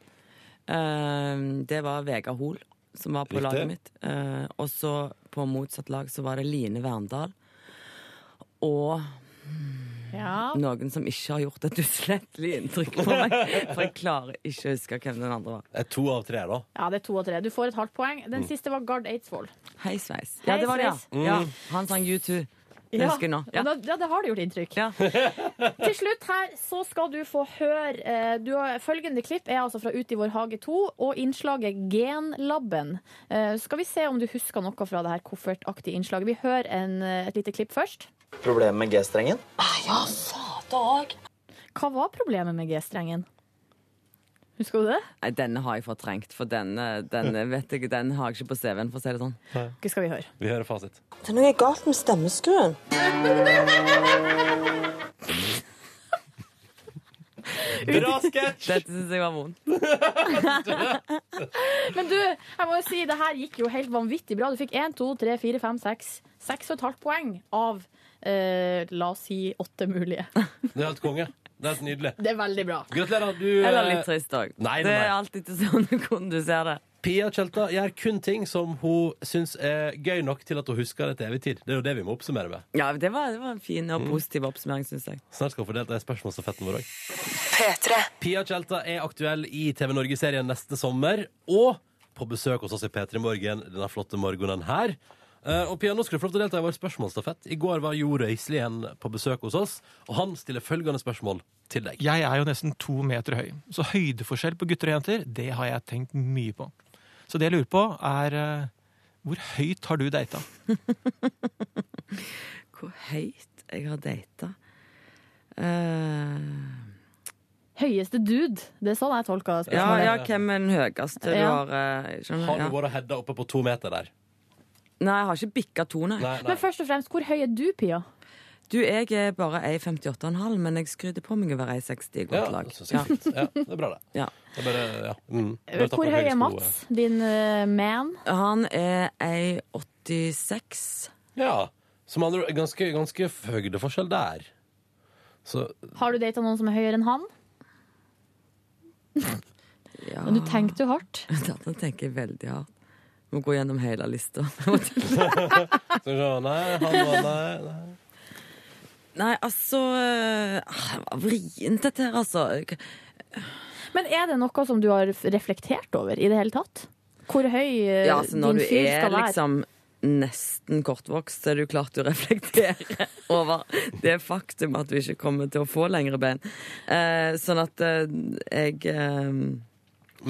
Ehm, det var Vegard Hoel som var på Riktig. laget mitt. Eh, og så på motsatt lag så var det Line Verndal. Og Ja. noen som ikke har gjort et uslettelig inntrykk på meg. *laughs* For jeg klarer ikke å huske hvem den andre var. Eh, To av tre, da. Ja, det er to og tre. Du får et halvt poeng. Den Mm. siste var Gard Eidsvoll. Hei, sveis. Hei, Ja, det var det, sveis. ja. ja. Mm. Han sang U2. Det husker jeg nå. Ja. da- ja, det har det gjort inntrykk. *laughs* Til slutt her så skal du få høre eh, du har, Følgende klipp er altså fra Ut i vår hage 2 og innslaget Genlabben. Eh, skal vi se om du husker noe fra det her koffertaktige innslaget. Vi hører en, eh, et lite klipp først. Problemet med G-strengen? Ja, dag. Hva var problemet med G-strengen? Husker du det? Nei, denne har jeg fortrengt, for denne, denne, vet jeg, den har jeg ikke på CV-en, for å si det sånn. Hva skal vi høre? Vi hører fasit. Det er noe galt med stemmeskruen. Bra sketsj! Dette syns jeg var vondt. *laughs* Men du, jeg må jo si, det her gikk jo helt vanvittig bra. Du fikk 1, 2, 3, 4, 5, 6 Seks og et halvt poeng av eh, la oss si åtte mulige. Det er helt konge. Det er helt nydelig. Det er veldig bra. Gratulerer. Du Eller eh, litt trist òg. Nei, nei, Det nei. er alltid ikke sånn hvordan du ser det. Pia Tjelta gjør kun ting som hun syns er gøy nok til at hun husker det til evig tid. Det er jo det vi må oppsummere med. Mm. Ja, det var, det var en fin og positiv oppsummering, syns jeg. Snart skal hun få delt de spørsmålsstafetten vår òg. Pia Tjelta er aktuell i TV Norge-serien neste sommer, og på besøk hos oss i P3 Morgen denne flotte morgenen her. Eh, Og Pia, nå skal du få lov til å delta i vår spørsmålsstafett. I går var Jo Røiselien på besøk hos oss, og han stiller følgende spørsmål til deg. Jeg er jo nesten to meter høy, så høydeforskjell på gutter og jenter, det har jeg tenkt mye på. Så det jeg lurer på, er eh, hvor høyt har du data? *laughs* Hvor høyt jeg har data. Eh, Høyeste dude. Det er sånn jeg tolker ja, spørsmålet. ja, hvem er den høyeste du Ja. har? eh, skjønner Har du ja. vært og hedda oppe på to meter der? Nei, jeg har ikke bikka to, nei. Men først og fremst, hvor høy er du, Pia? Du, jeg er bare 1,58,5, men jeg skryter på meg å være 1,60 i godt lag. Ja, det er bra, det. Ja. Det er bare, ja. mm. Bare ta Eh, på Hvor høy høyeste er noe. Mats, din eh, man? Han er 1,86. Ja. Så med andre ord, ganske, ganske høydeforskjell der. Så Har du data noen som er høyere enn han? Ja. Men du tenkte jo *laughs* hardt. Nå tenker jeg veldig hardt. Må gå gjennom hele *laughs* lista. Skal vi se Nei, han var nei, nei. Nei, altså eh, ah, Det var vrient, dette her, Eh, altså. Men er det noe som du har reflektert over i det hele tatt? Hvor høy eh, Ja, altså din når du fyr er skal være? liksom nesten kortvokst, så er det jo klart du reflekterer *laughs* over det faktum at du ikke kommer til å få lengre ben. Eh, sånn at eh, jeg eh,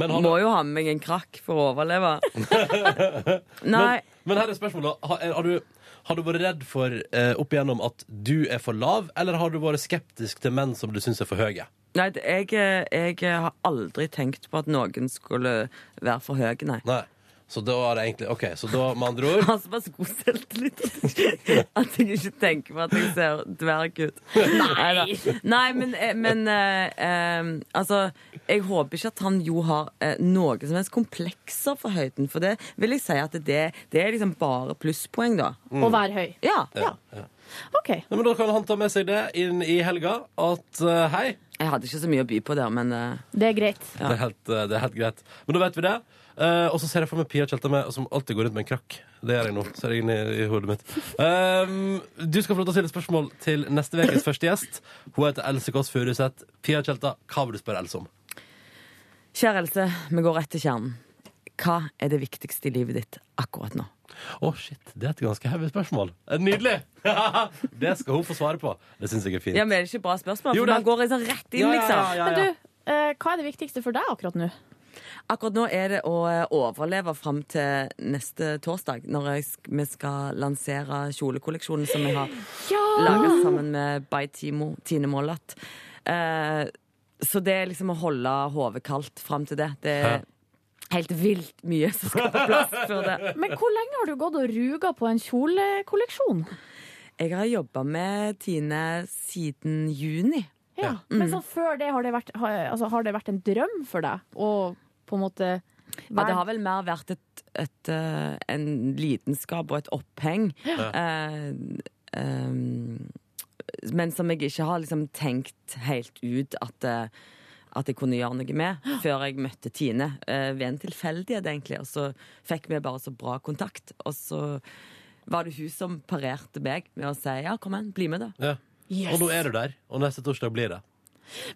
han- må jo ha med meg en krakk for å *laughs* overleve. Nei. Men, men her er spørsmålet. Har, er- har, du, har du vært redd for eh, opp igjennom at du er for lav, eller har du vært skeptisk til menn som du syns er for høye? Nei, det- jeg, eh, jeg har aldri tenkt på at noen skulle være for høy, nei. nei. Så da er det egentlig OK, så da med andre *laughs* ord Han som har så god selvtillit at jeg ikke tenker på at jeg ser dverg *laughs* ut. Neida. Nei, men, eh, men eh, eh, altså Jeg håper ikke at han jo har eh, noe som helst komplekser for høyden, for det vil jeg si at det, det er liksom bare plusspoeng, da. Å være høy. Mm. Ja. Ja, ja. OK. Nei, men da kan han ta med seg det inn i helga. At eh, hei Jeg hadde ikke så mye å by på der, men eh, Det er greit. Det, er helt, eh, det er helt greit. Men da vet vi det. Eh, og så ser jeg for meg Pia Tjelta med, som alltid går rundt med en krakk. Det gjør jeg nå. Ser jeg inn i, i hodet mitt. Um, du skal få lov til å stille spørsmål til neste ukes første gjest. Hun heter Else Kåss Furuseth. Pia Tjelta, hva vil du spørre Else om? Kjære Else, vi går rett til kjernen. Hva er det viktigste i livet ditt akkurat nå? Å, shit. Det er et ganske heavy spørsmål. Eh, Nydelig! *laughs* det skal hun få svare på. Det syns jeg er fint. Ja, men Er det ikke bra spørsmål? Jo, For det er- man går liksom rett inn, Ja, ja, liksom. ja, ja, ja. Men du, eh, hva er det viktigste for deg akkurat nå? Akkurat nå er det å eh, overleve fram til neste torsdag, når jeg, sk- vi skal lansere kjolekolleksjonen som vi har Ja! laget sammen med By Timo, Tine Mollat. Eh, så det er liksom å holde hodet kaldt fram til det. Det er Hæ? helt vilt mye som skal på plass før det. *laughs* Men hvor lenge har du gått og ruga på en kjolekolleksjon? Jeg har jobba med Tine siden juni. Mm. Ja. Men sånn før det, har det, vært, har, altså, har det vært en drøm for deg å på en måte Ja, det har vel mer vært et, et, eh, en lidenskap og et oppheng. Ja. Eh, ehm, men som jeg ikke har liksom tenkt helt ut at, eh, at jeg kunne gjøre noe med før jeg møtte Tine. eh, ved en tilfeldighet, egentlig. Og så fikk vi bare så bra kontakt. Og så var det hun som parerte meg med å si ja, kom igjen, bli med, da. Ja. Yes. Og nå er du der, og neste torsdag blir det.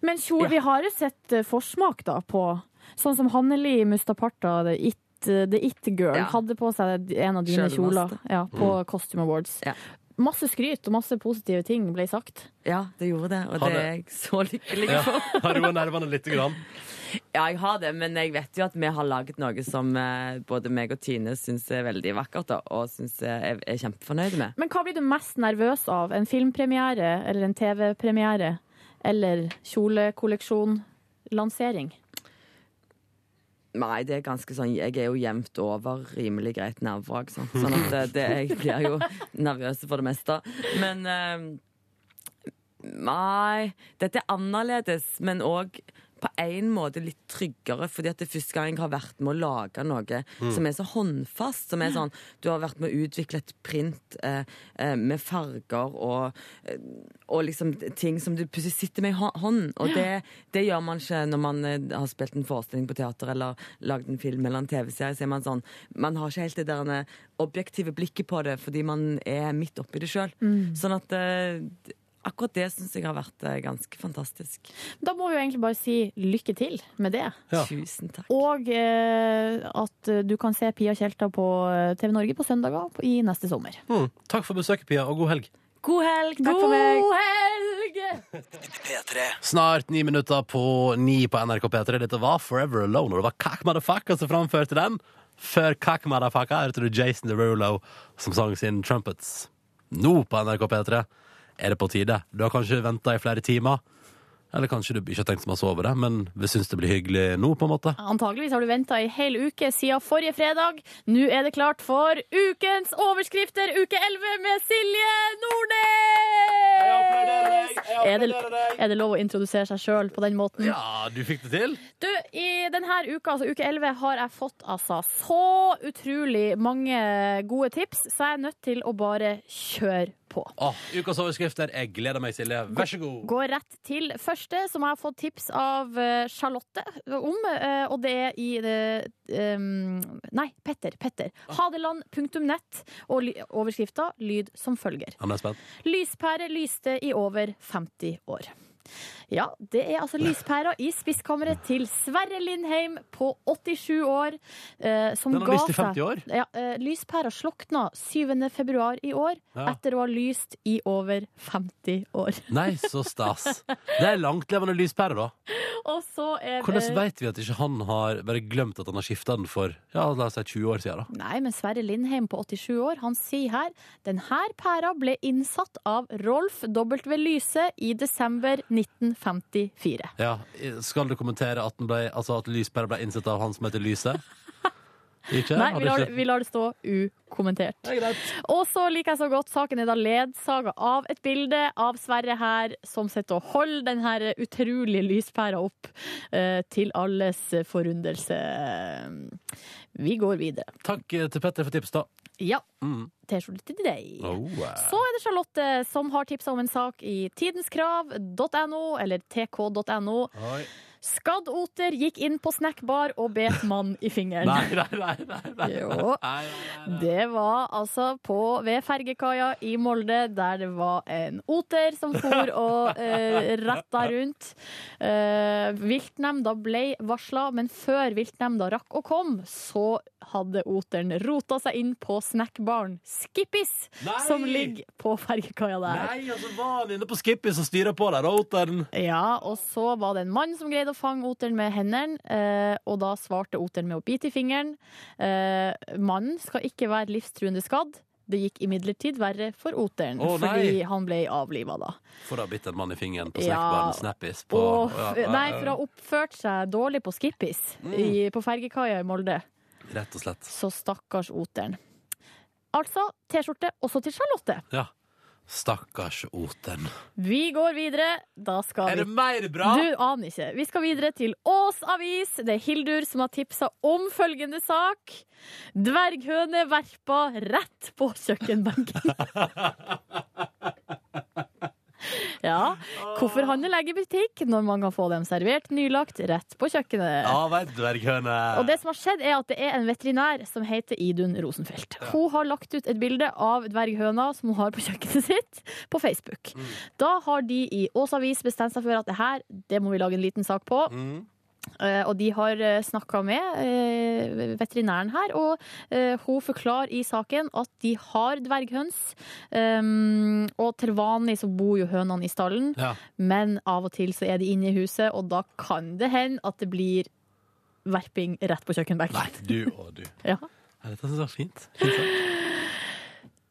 Men kjol, vi har jo sett eh, forsmak da på Sånn som Hanneli Mustaparta, The It, eh, the it Girl, Ja. hadde på seg en av dine Sjølmaste. kjoler ja, på Mm. Costume Awards. Masse skryt og masse positive ting ble sagt. Ja, det gjorde det, og det er Har det- jeg så lykkelig Ja. *laughs* for. Har roa nervene lite grann? Ja, jeg har det, men jeg vet jo at vi har laget noe som eh, både meg og Tine syns er veldig vakkert, da, og syns eh, jeg er kjempefornøyd med. Men hva blir du mest nervøs av? En filmpremiere eller en TV-premiere? Eller kjolekolleksjon? Lansering? Nei, det er ganske sånn Jeg er jo jevnt over rimelig greit nerver, ikke sant. Sånn at det, det, jeg blir jo nervøs for det meste. Men eh, Nei. Dette er annerledes, men òg på en måte litt tryggere, fordi at det er første gang jeg har vært med å lage noe Mm. som er så håndfast. Som er sånn Du har vært med å utvikle et print eh, eh, med farger og, eh, og liksom ting som du plutselig sitter med i hå- hånden. Og Ja. det, det gjør man ikke når man eh, har spilt en forestilling på teater eller lagd en film eller en TV-serie. Så er man sånn Man har ikke helt det der eh, objektive blikket på det fordi man er midt oppi det sjøl. Mm. Sånn at eh, Akkurat det syns jeg har vært eh, ganske fantastisk. Da må vi jo egentlig bare si lykke til med det. Tusen takk. Og eh, at eh, du kan se Pia Tjelta på eh, TV Norge på søndager på- i neste sommer. Mm. Takk for besøket, Pia, og god helg. God helg! Takk for meg. God helg! Snart ni minutter på ni på NRK P3. Dette var Forever Alone, og det var Cack Motherfucker som framførte den. Før Cack Motherfucker hørte du Jason Derulo som sang sin Trumpets. Nå på NRK P3 er det på tide. Du har kanskje venta i flere timer. Eller kanskje du ikke har tenkt så masse over det, men vi syns det blir hyggelig nå, på en måte. Antageligvis har du venta ei hel uke siden forrige fredag. Nå er det klart for ukens overskrifter, uke 11 med Silje Nordnes! Er det, er det lov å introdusere seg sjøl på den måten? Ja, du fikk det til? Du, i denne uka, altså uke 11, har jeg fått altså så utrolig mange gode tips, så jeg er nødt til å bare kjøre på. Åh, ukas overskrifter. Jeg gleder meg, Silje. Vær så god. Går rett til første, som jeg har fått tips av eh, Charlotte om. eh, Og det er i det, em, Nei, Petter. Petter. Hadeland.nett. Og ly- overskrifta lyd som følger. Han er spent. Lyspære lyste i over 50 år. Ja, det er altså lyspæra i spiskammeret til Sverre Lindheim på 87 år. eh, som Den har ga lyst i seg- 50 år? Ja, eh, lyspæra slokna 7. februar i år, Ja. etter å ha lyst i over 50 år. Nei, så stas. Det er langtlevende lyspære, da. Og så er Hvordan vet vi at ikke han har bare glemt at han har skifta den for ja, la oss si 20 år siden? da? Nei, men Sverre Lindheim på 87 år, han sier her den her pæra ble innsatt av Rolf W. Lyse i desember 1954. Ja, Skal du kommentere at, den ble, altså at lyspæra ble innsett av han som heter Lyse? *laughs* Ikke? Nei, Har vi du lar, ikke- vi lar det stå ukommentert. Og så liker jeg så godt saken er da ledsaga av et bilde av Sverre her, som sitter og holder den her utrolige lyspæra opp eh, til alles forundelse. Vi går videre. Takk eh, til Petter for tipset, da. Ja. Mm. T-skjorte til deg. Oh, eh. Så er det Charlotte eh, som har tipsa om en sak i tidenskrav.no, eller tk.no. Oi. Skadd oter gikk inn på snackbar og bet mann i fingeren. Nei, nei, nei, nei, nei. Jo. Nei, Det var altså på, ved fergekaia i Molde, der det var en oter som for *laughs* og eh, retta rundt. Eh, viltnemnda ble varsla, men før viltnemnda rakk å komme, så hadde oteren rota seg inn på snackbaren Skippis, Nei! som ligger på fergekaia der. nei, altså var han inne på Skippy som styrer på der, Oteren? Ja, og så var det en mann som greide å fange oteren med hendene, eh, og da svarte oteren med å bite i fingeren. Eh, mannen skal ikke være livstruende skadd. Det gikk imidlertid verre for oteren, Å, nei. fordi han ble avliva da. For å ha bitt en mann i fingeren på Ja. snackbaren Snappis. På, Og, ja, f- ja, nei, ja. Mm. for å ha oppført seg dårlig på Skippis i, på fergekaia i Molde. Rett og slett. Så stakkars oteren. Altså T-skjorte også til Charlotte. Ja. Stakkars Oten. Vi går videre. Da skal Er det vi- mer bra? Du aner ikke. Vi skal videre til Ås Avis. Det er Hildur som har tipsa om følgende sak. Dverghøne verpa rett på kjøkkenbenken. *laughs* ja. Hvorfor handle legebutikk når man kan få dem servert nylagt rett på kjøkkenet? Ja, veit dverghøne. Og det som har skjedd er at det er en veterinær som heter Idun Rosenfeldt. Hun har lagt ut et bilde av dverghøna som hun har på kjøkkenet sitt, på Facebook. Da har de i Ås Avis bestemt seg for at det her, det må vi lage en liten sak på. Mm. Mm. Eh, og de har snakka med eh, veterinæren her, og eh, hun forklarer i saken at de har dverghøns. Um, og til vanlig så bor jo hønene i stallen, Ja. men av og til så er de inne i huset, og da kan det hende at det blir verping rett på kjøkkenbenken. Du og du. Ja. Ja, Dette syns jeg var fint.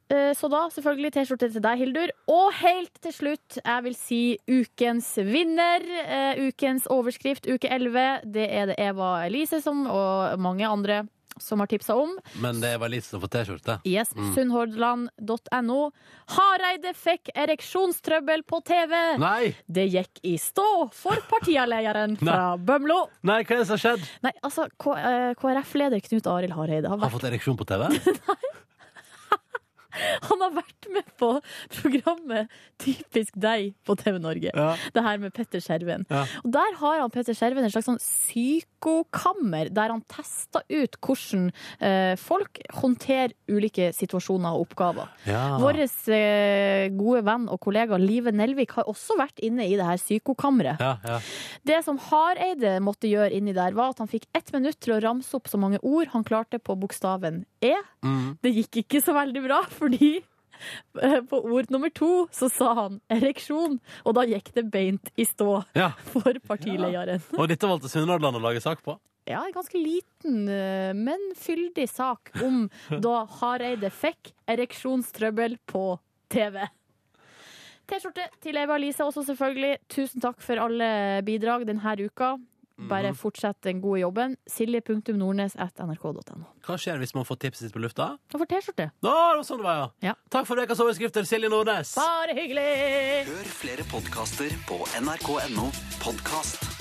Eh, Så da selvfølgelig T-skjorte til deg, Hildur. Og helt til slutt, jeg vil si ukens vinner. eh, Ukens overskrift, uke 11. Det er det Eva Elise som, og mange andre som har tipsa om. Men det var Lise som får T-skjorte. Yes, Mm. Sunnhordland.no. Hareide fikk ereksjonstrøbbel på TV! Nei. Det gikk i stå for *laughs* partilederen fra Bømlo. Nei, hva er det som har skjedd? Nei, altså, K- eh, KrF-leder Knut Arild Hareide har Har vært, fått ereksjon på TV? han har vært med på programmet Typisk deg på TV Norge. Det her med Petter Skjerven. Og der har han Petter Skjerven en slags sånn psykokammer, der han tester ut hvordan eh, folk håndterer ulike situasjoner og oppgaver. Ja. Vår eh, gode venn og kollega Live Nelvik har også vært inne i det her psykokammeret. Ja, ja. Det som Hareide måtte gjøre inni der, var at han fikk ett minutt til å ramse opp så mange ord han klarte på bokstaven E. Mm. Det gikk ikke så veldig bra, fordi eh, *laughs* på ord nummer to så sa han ereksjon, og da gikk det beint i stå Ja. for partilederen. Og dette valgte Sunnhordland å lage sak på? Ja, en ganske liten, eh, men fyldig sak om da Hareide fikk ereksjonstrøbbel på TV. T-skjorte til Eva Lise også, selvfølgelig. Tusen takk for alle bidrag denne uka. Bare Mhm. fortsett den gode jobben. Silje.nordnes.nrk.no. Hva skjer hvis man får tipset sitt på lufta? Og for T-skjorte. Nå, det var sånn det var, ja. Takk for ukas overskrifter, Silje Nordnes. Bare hyggelig! Hør flere podkaster på nrk.no podkast.